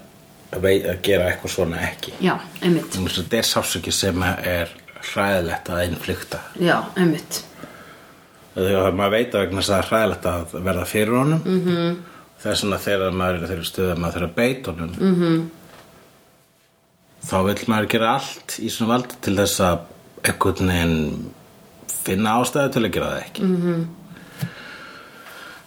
að, vei, að gera eitthvað svona ekki
já, einmitt,
Þannig að þetta er sásöki sem er hræðilegt að innflykta
já, einmitt,
þegar maður veit að vegna þess að það er hræðilegt að verða fyrir honum mm -hmm. þess vegna þegar maður er í þeirri stuð að maður þarf að beita honum mm -hmm. þá vill maður gera allt í svona valdi til þess að einhvern veginn finna ástæðu til að gera það ekki mm -hmm.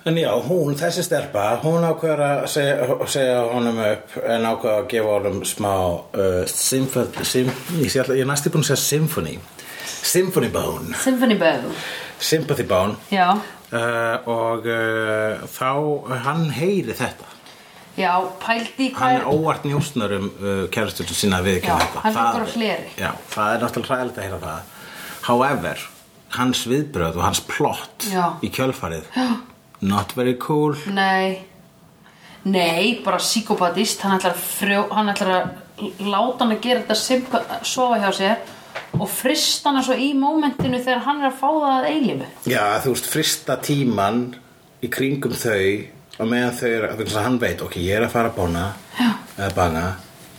en já, hún, þessi stelpa hún ákveður að segja, segja honum upp en ákveður að gefa honum smá uh, symfoni symf, ég, sé alltaf- ég er næstu búin að segja symfoni symfoni bone
symphony bæðu,
sympathy bone
já,
uh, og uh, þá hann heyri þetta
já, pældi í hvað
hann
er,
er óvart njósnar um uh, kærastur sína við ekki
Já,
þetta
hann
Það-
fellur á hleri.
já, það er náttúrulega hræðilegt að heyra það however, hans viðbröð og hans plott
Já.
í kjölfarið já. not very cool
nei, nei, bara psykopatist, hann ætlar að frjó, hann ætlar að láta hann að gera þetta simpa, sofa hjá sér og frist hann svo í mómentinu þegar hann er að fá það að eilífu.
já, þú veist, frista tíman í kringum þau og meðan þau eru, þannig að hann veit ok, ég er að fara að bóna já. eða bana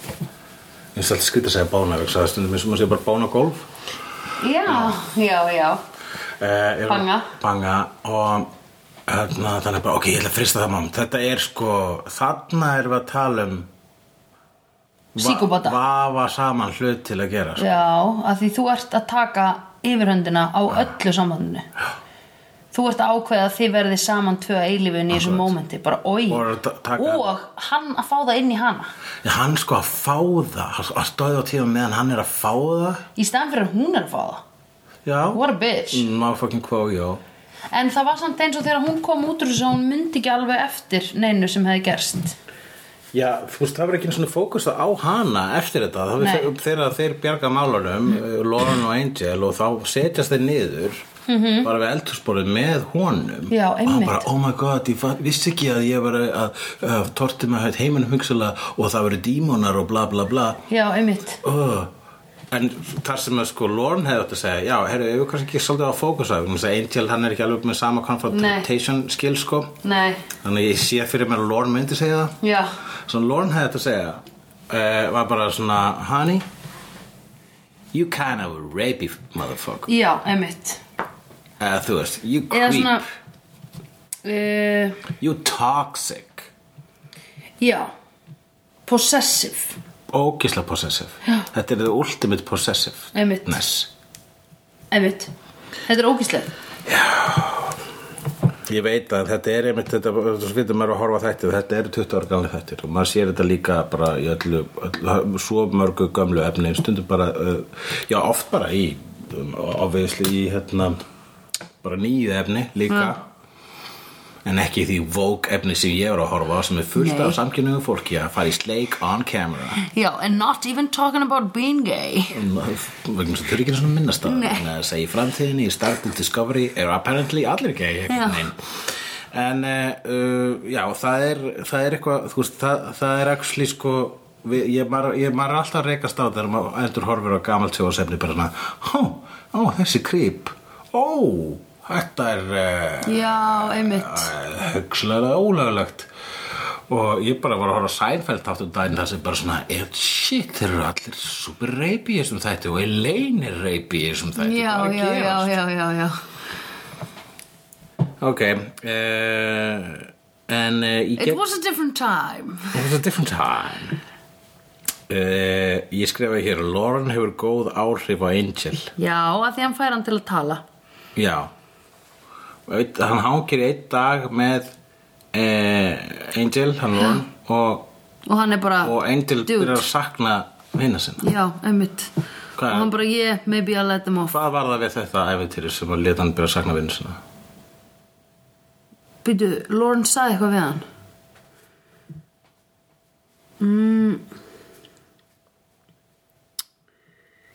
ég finnst alltaf skrýta að segja bóna vegna þess að það er stundum eins og maður segja bara bóna golf
Já, já, já,
uh,
Banga.
banga og hérna, þannig bara, ok, ég ætla að frista það mám þetta er sko, þarna erum við að tala um va-
Psykópata.
vafa saman hlut til að gera sko.
já, að því þú ert að taka yfirhöndina á öllu sambandinu. Þú ert að ákveða að þið verði saman tvö að eilífunni í þessu mómenti, bara oi
Og að ta- taka-
og hann að fá það inn í hana
ja, hann sko að fá það hann- að stóða á tíðum meðan hann er að fá það
í staðan fyrir að hún er að fá það
já, Mm,
what a bitch
maður fokkin kvó, já
en það var samt eins og þegar hún kom út úr þessu að hún myndi ekki alveg eftir neinu sem hefði gerst
Já, þú veist, það var ekki einu svona fókus á hana eftir þetta, það var
Nei. Mhm.
þeir- þegar þeir bjarga málunum, mm. Lauren og Angel og þá setjast þeir niður -hmm. bara við eldhúsborðið með honum
Mhm. Já,
og hann
einmitt.
bara, oh my god, ég fatt, vissi ekki að ég var að, að, að torti með hætt heiminum hugsalega og það verið dímonar og bla bla bla
já, einmitt
oh. En þar sem að sko Lorne hefði átt að segja Já, heyrðu, ef við kannski ekki svolítið á fókusa vegna þess að Angel, hann er ekki alveg með sama confrontation skill sko
nei,
Þannig að ég sé fyrir mér að Lorne myndi segja það
já,
Svo Lauren hefði þetta að segja uh, var bara svona Honey You kind of a rapey motherfucker
já, einmitt
eða þú veist, you
eða
creep,
svona uh,
you toxic
já possessive
ógislega possessive Já. þetta er the ultimate possessive
Einmitt.
Ness.
einmitt þetta er ógíslega
ég veit að þetta er einmitt þetta, þú veitum maður er að horfa á þætti þetta eru 20 ára gamlega þættir og maður sér þetta líka bara í öllu, öllu svo mörgu gamlu efni stundum bara, uh, já oft bara í um, obviously í hérna bara nýju efni líka en ekki því vogue efni sem ég er að horfa á sem er fullt
Nei.
af samkynningu fólki að fara í sleik on camera
já, and not even talking about being gay
vegna þess að þau eru ekki svona minnast á það vegna þess að í framtíðinni í Star Trek Discovery eru apparently allir gay einhvern veginn. en eh, uh, já það er, það er eitthvað þú veist, það, það er actually sko við, ég, maður, ég maður er alltaf að reikast á þegar maður endur horfir á gamalt sjóðsefni bara svona, ó, ó, þessi krýp ó, þetta er uh,
já, einmitt
hugslega ólöglegt og ég bara var að horfa á Seinfeld áttum daginn það sem bara svona eh, shit, þeir eru allir super reypi í þessum þætti og Elaine er reypi í þessum þætti
já,
Hvað er
já,
að
já,
gerast?
já, já, já
ok uh, en uh, ég
It was a different time
It was a different time uh, Ég skrifaði hér Lauren hefur góð áhrif á Angel
Já, að því hann fær hann til að tala
Já Einn- Hann hangir einn dag með uh, Angel, hann Lauren og,
Og hann er bara
og Angel
dude.
byrjar að sakna vina sinna
Já, einmitt
Hvað er-
Og hann bara, yeah, maybe I'll let them off
Hvað var það við þetta efintýri sem að leta hann byrja að sakna vina sinna?
Býtu, Lauren sagði eitthvað við hann Mm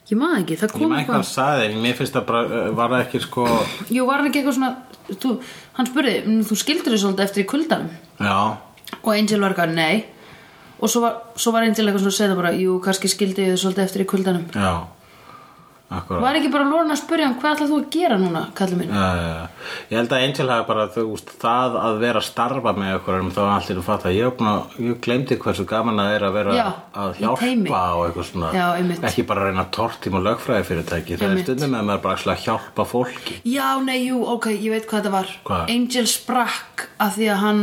Ég maður ekki, það
Ég
kom
maður ekki hvað hann saði en mér finnst það bara, uh, var það ekki sko
Jú, var hann ekki eitthvað svona þú, Hann spurði, "Mm, þú skildir þau svolítið eftir í kuldanum
Já,
Og Angel var eitthvað, nei Og svo var, svo var Angel eitthvað svona að segja það bara Jú, kannski skildi þau svolítið eftir í kuldanum
já Akkurat
Var ekki bara Lauren að spurja hann, hvað ætlar þú að gera núna, kallið minn
Já, já, já. ég held að Angel hafi bara þú veist, það að vera að starfa með okkur en þá var allir að fatta ég, er búin að, ég glemdi hversu gaman að það er að vera
Já,
að
í
hjálpa
teimi.
og eitthvað svona
Já, einmitt.
ekki bara að reyna tortim og lögfræði fyrirtæki það er
Einmitt.
stundum að maður bara ætla að hjálpa fólki
Já, nei, jú, ok, ég veit hvað þetta var
Hvað?
Angel sprakk af því að hann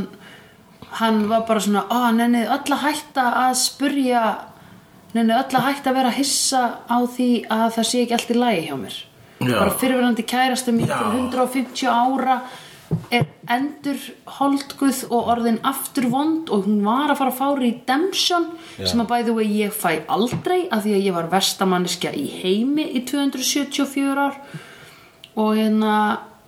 hann var bara svona ó, nennið öll að hætta að spurja nennið öll að hætta að vera hissa á því að það sé ekki allt í lagi hjá mér
Já.
bara fyrirverandi kærasta mín
Já.
til 150 ára er endur holdguð og orðin aftur vond og hún var að fara að fári í Demsjón sem að bæði og ég fæ aldrei af því að ég var vestamanniska í heimi í 274 ár og hérna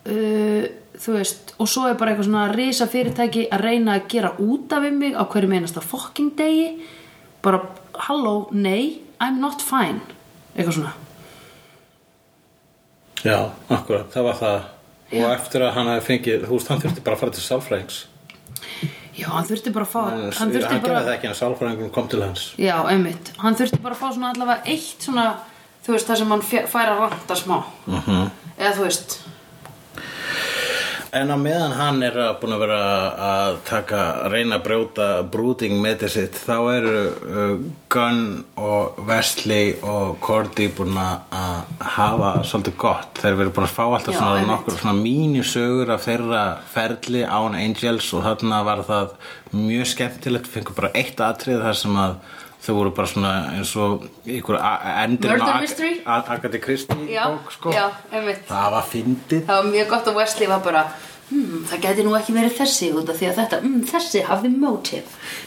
uh, þú veist, og svo er bara eitthvað svona risa fyrirtæki að reyna að gera út af um mig á hverjum einasta fucking degi bara, halló, nei I'm not fine, eitthvað svona
já, akkurat, það var það og eftir að hann hafi fengið þú veist, hann þurfti bara að fara til sálfræðings
já, hann þurfti bara að fá
hann,
hann
hann,
þurfti
hann
bara,
gerði það ekki en sálfræðingur kom til hans
já, einmitt hann þurfti bara að fá svona allavega eitt svona þú veist, það sem hann fe- fær að ranta smá
Mhm.
-huh. eða þú veist
En á meðan hann er að- búin að vera að taka, að reyna að brjóta brooding metið sitt, þá eru uh, Gunn og Wesley og Cordy búin að að hafa svolítið gott. Þeir eru búin að fá alltaf
Já,
svona
einmitt.
nokkur svona mínusögur af þeirra ferli án Angels og þarna var það mjög skemmtilegt, fengur bara eitt atrið þar sem að þau voru bara svona eins og ykkur endur
Murder mystery?
Agatha Christie
já,
bók sko.
já, einmitt
Það var fyndið.
það var mjög gott að Wesley var bara hmm, það gæti nú ekki verið þessi út af því að þetta hmm, þessi hafði motive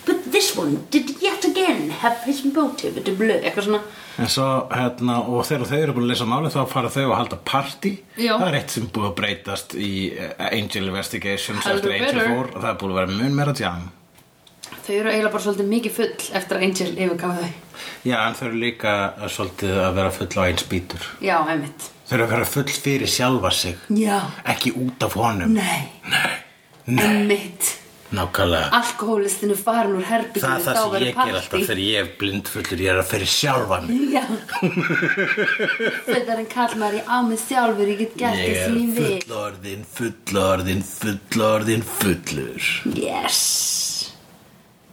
but this one did yet again have his motive to blue eitthvað svona
En svo, hérna, og þegar þau eru búin að lesa málið þá fara þau að halda partí
Já.
Það er eitt sem búið að breytast í eh, Angel Investigations
Heldur
eftir Angel
betur.
fór og það er búið að vera mun meira tján
þau eru eiginlega bara svolítið mikið full eftir að Angel yfirgafa þau
Já, en þau eru líka eh, svolítið að vera full á eins bítur
já, einmitt
Þau eru að vera full fyrir sjálfa sig
já,
Ekki út af honum
nei,
Nei,
einmitt
nákvæmlega
alkohólistinu farin úr herbygginu
Það er það
þá
sem
verður
ég ger alltaf þegar ég er blindfullur Ég er að fyrir sjálfa mig
já þetta er en kall maður ég á mig sjálfur ég get gert
Ég
það
er
sem ég vil
fullorðin, fullorðin, fullorðin, fullur
yes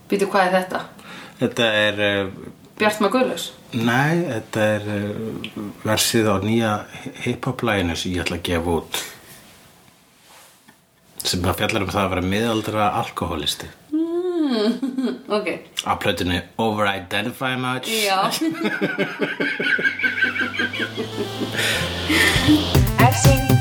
býtu hvað er þetta?
Þetta er eh,
Bjartma Guðlaus
Nei, þetta er uh, versið á nýja hip-hop-læginu sem ég ætla að gefa út sem það fjallar um það að vera miðaldra alkoholisti
ok
á plötinu Over-Identify Much
Já
I've seen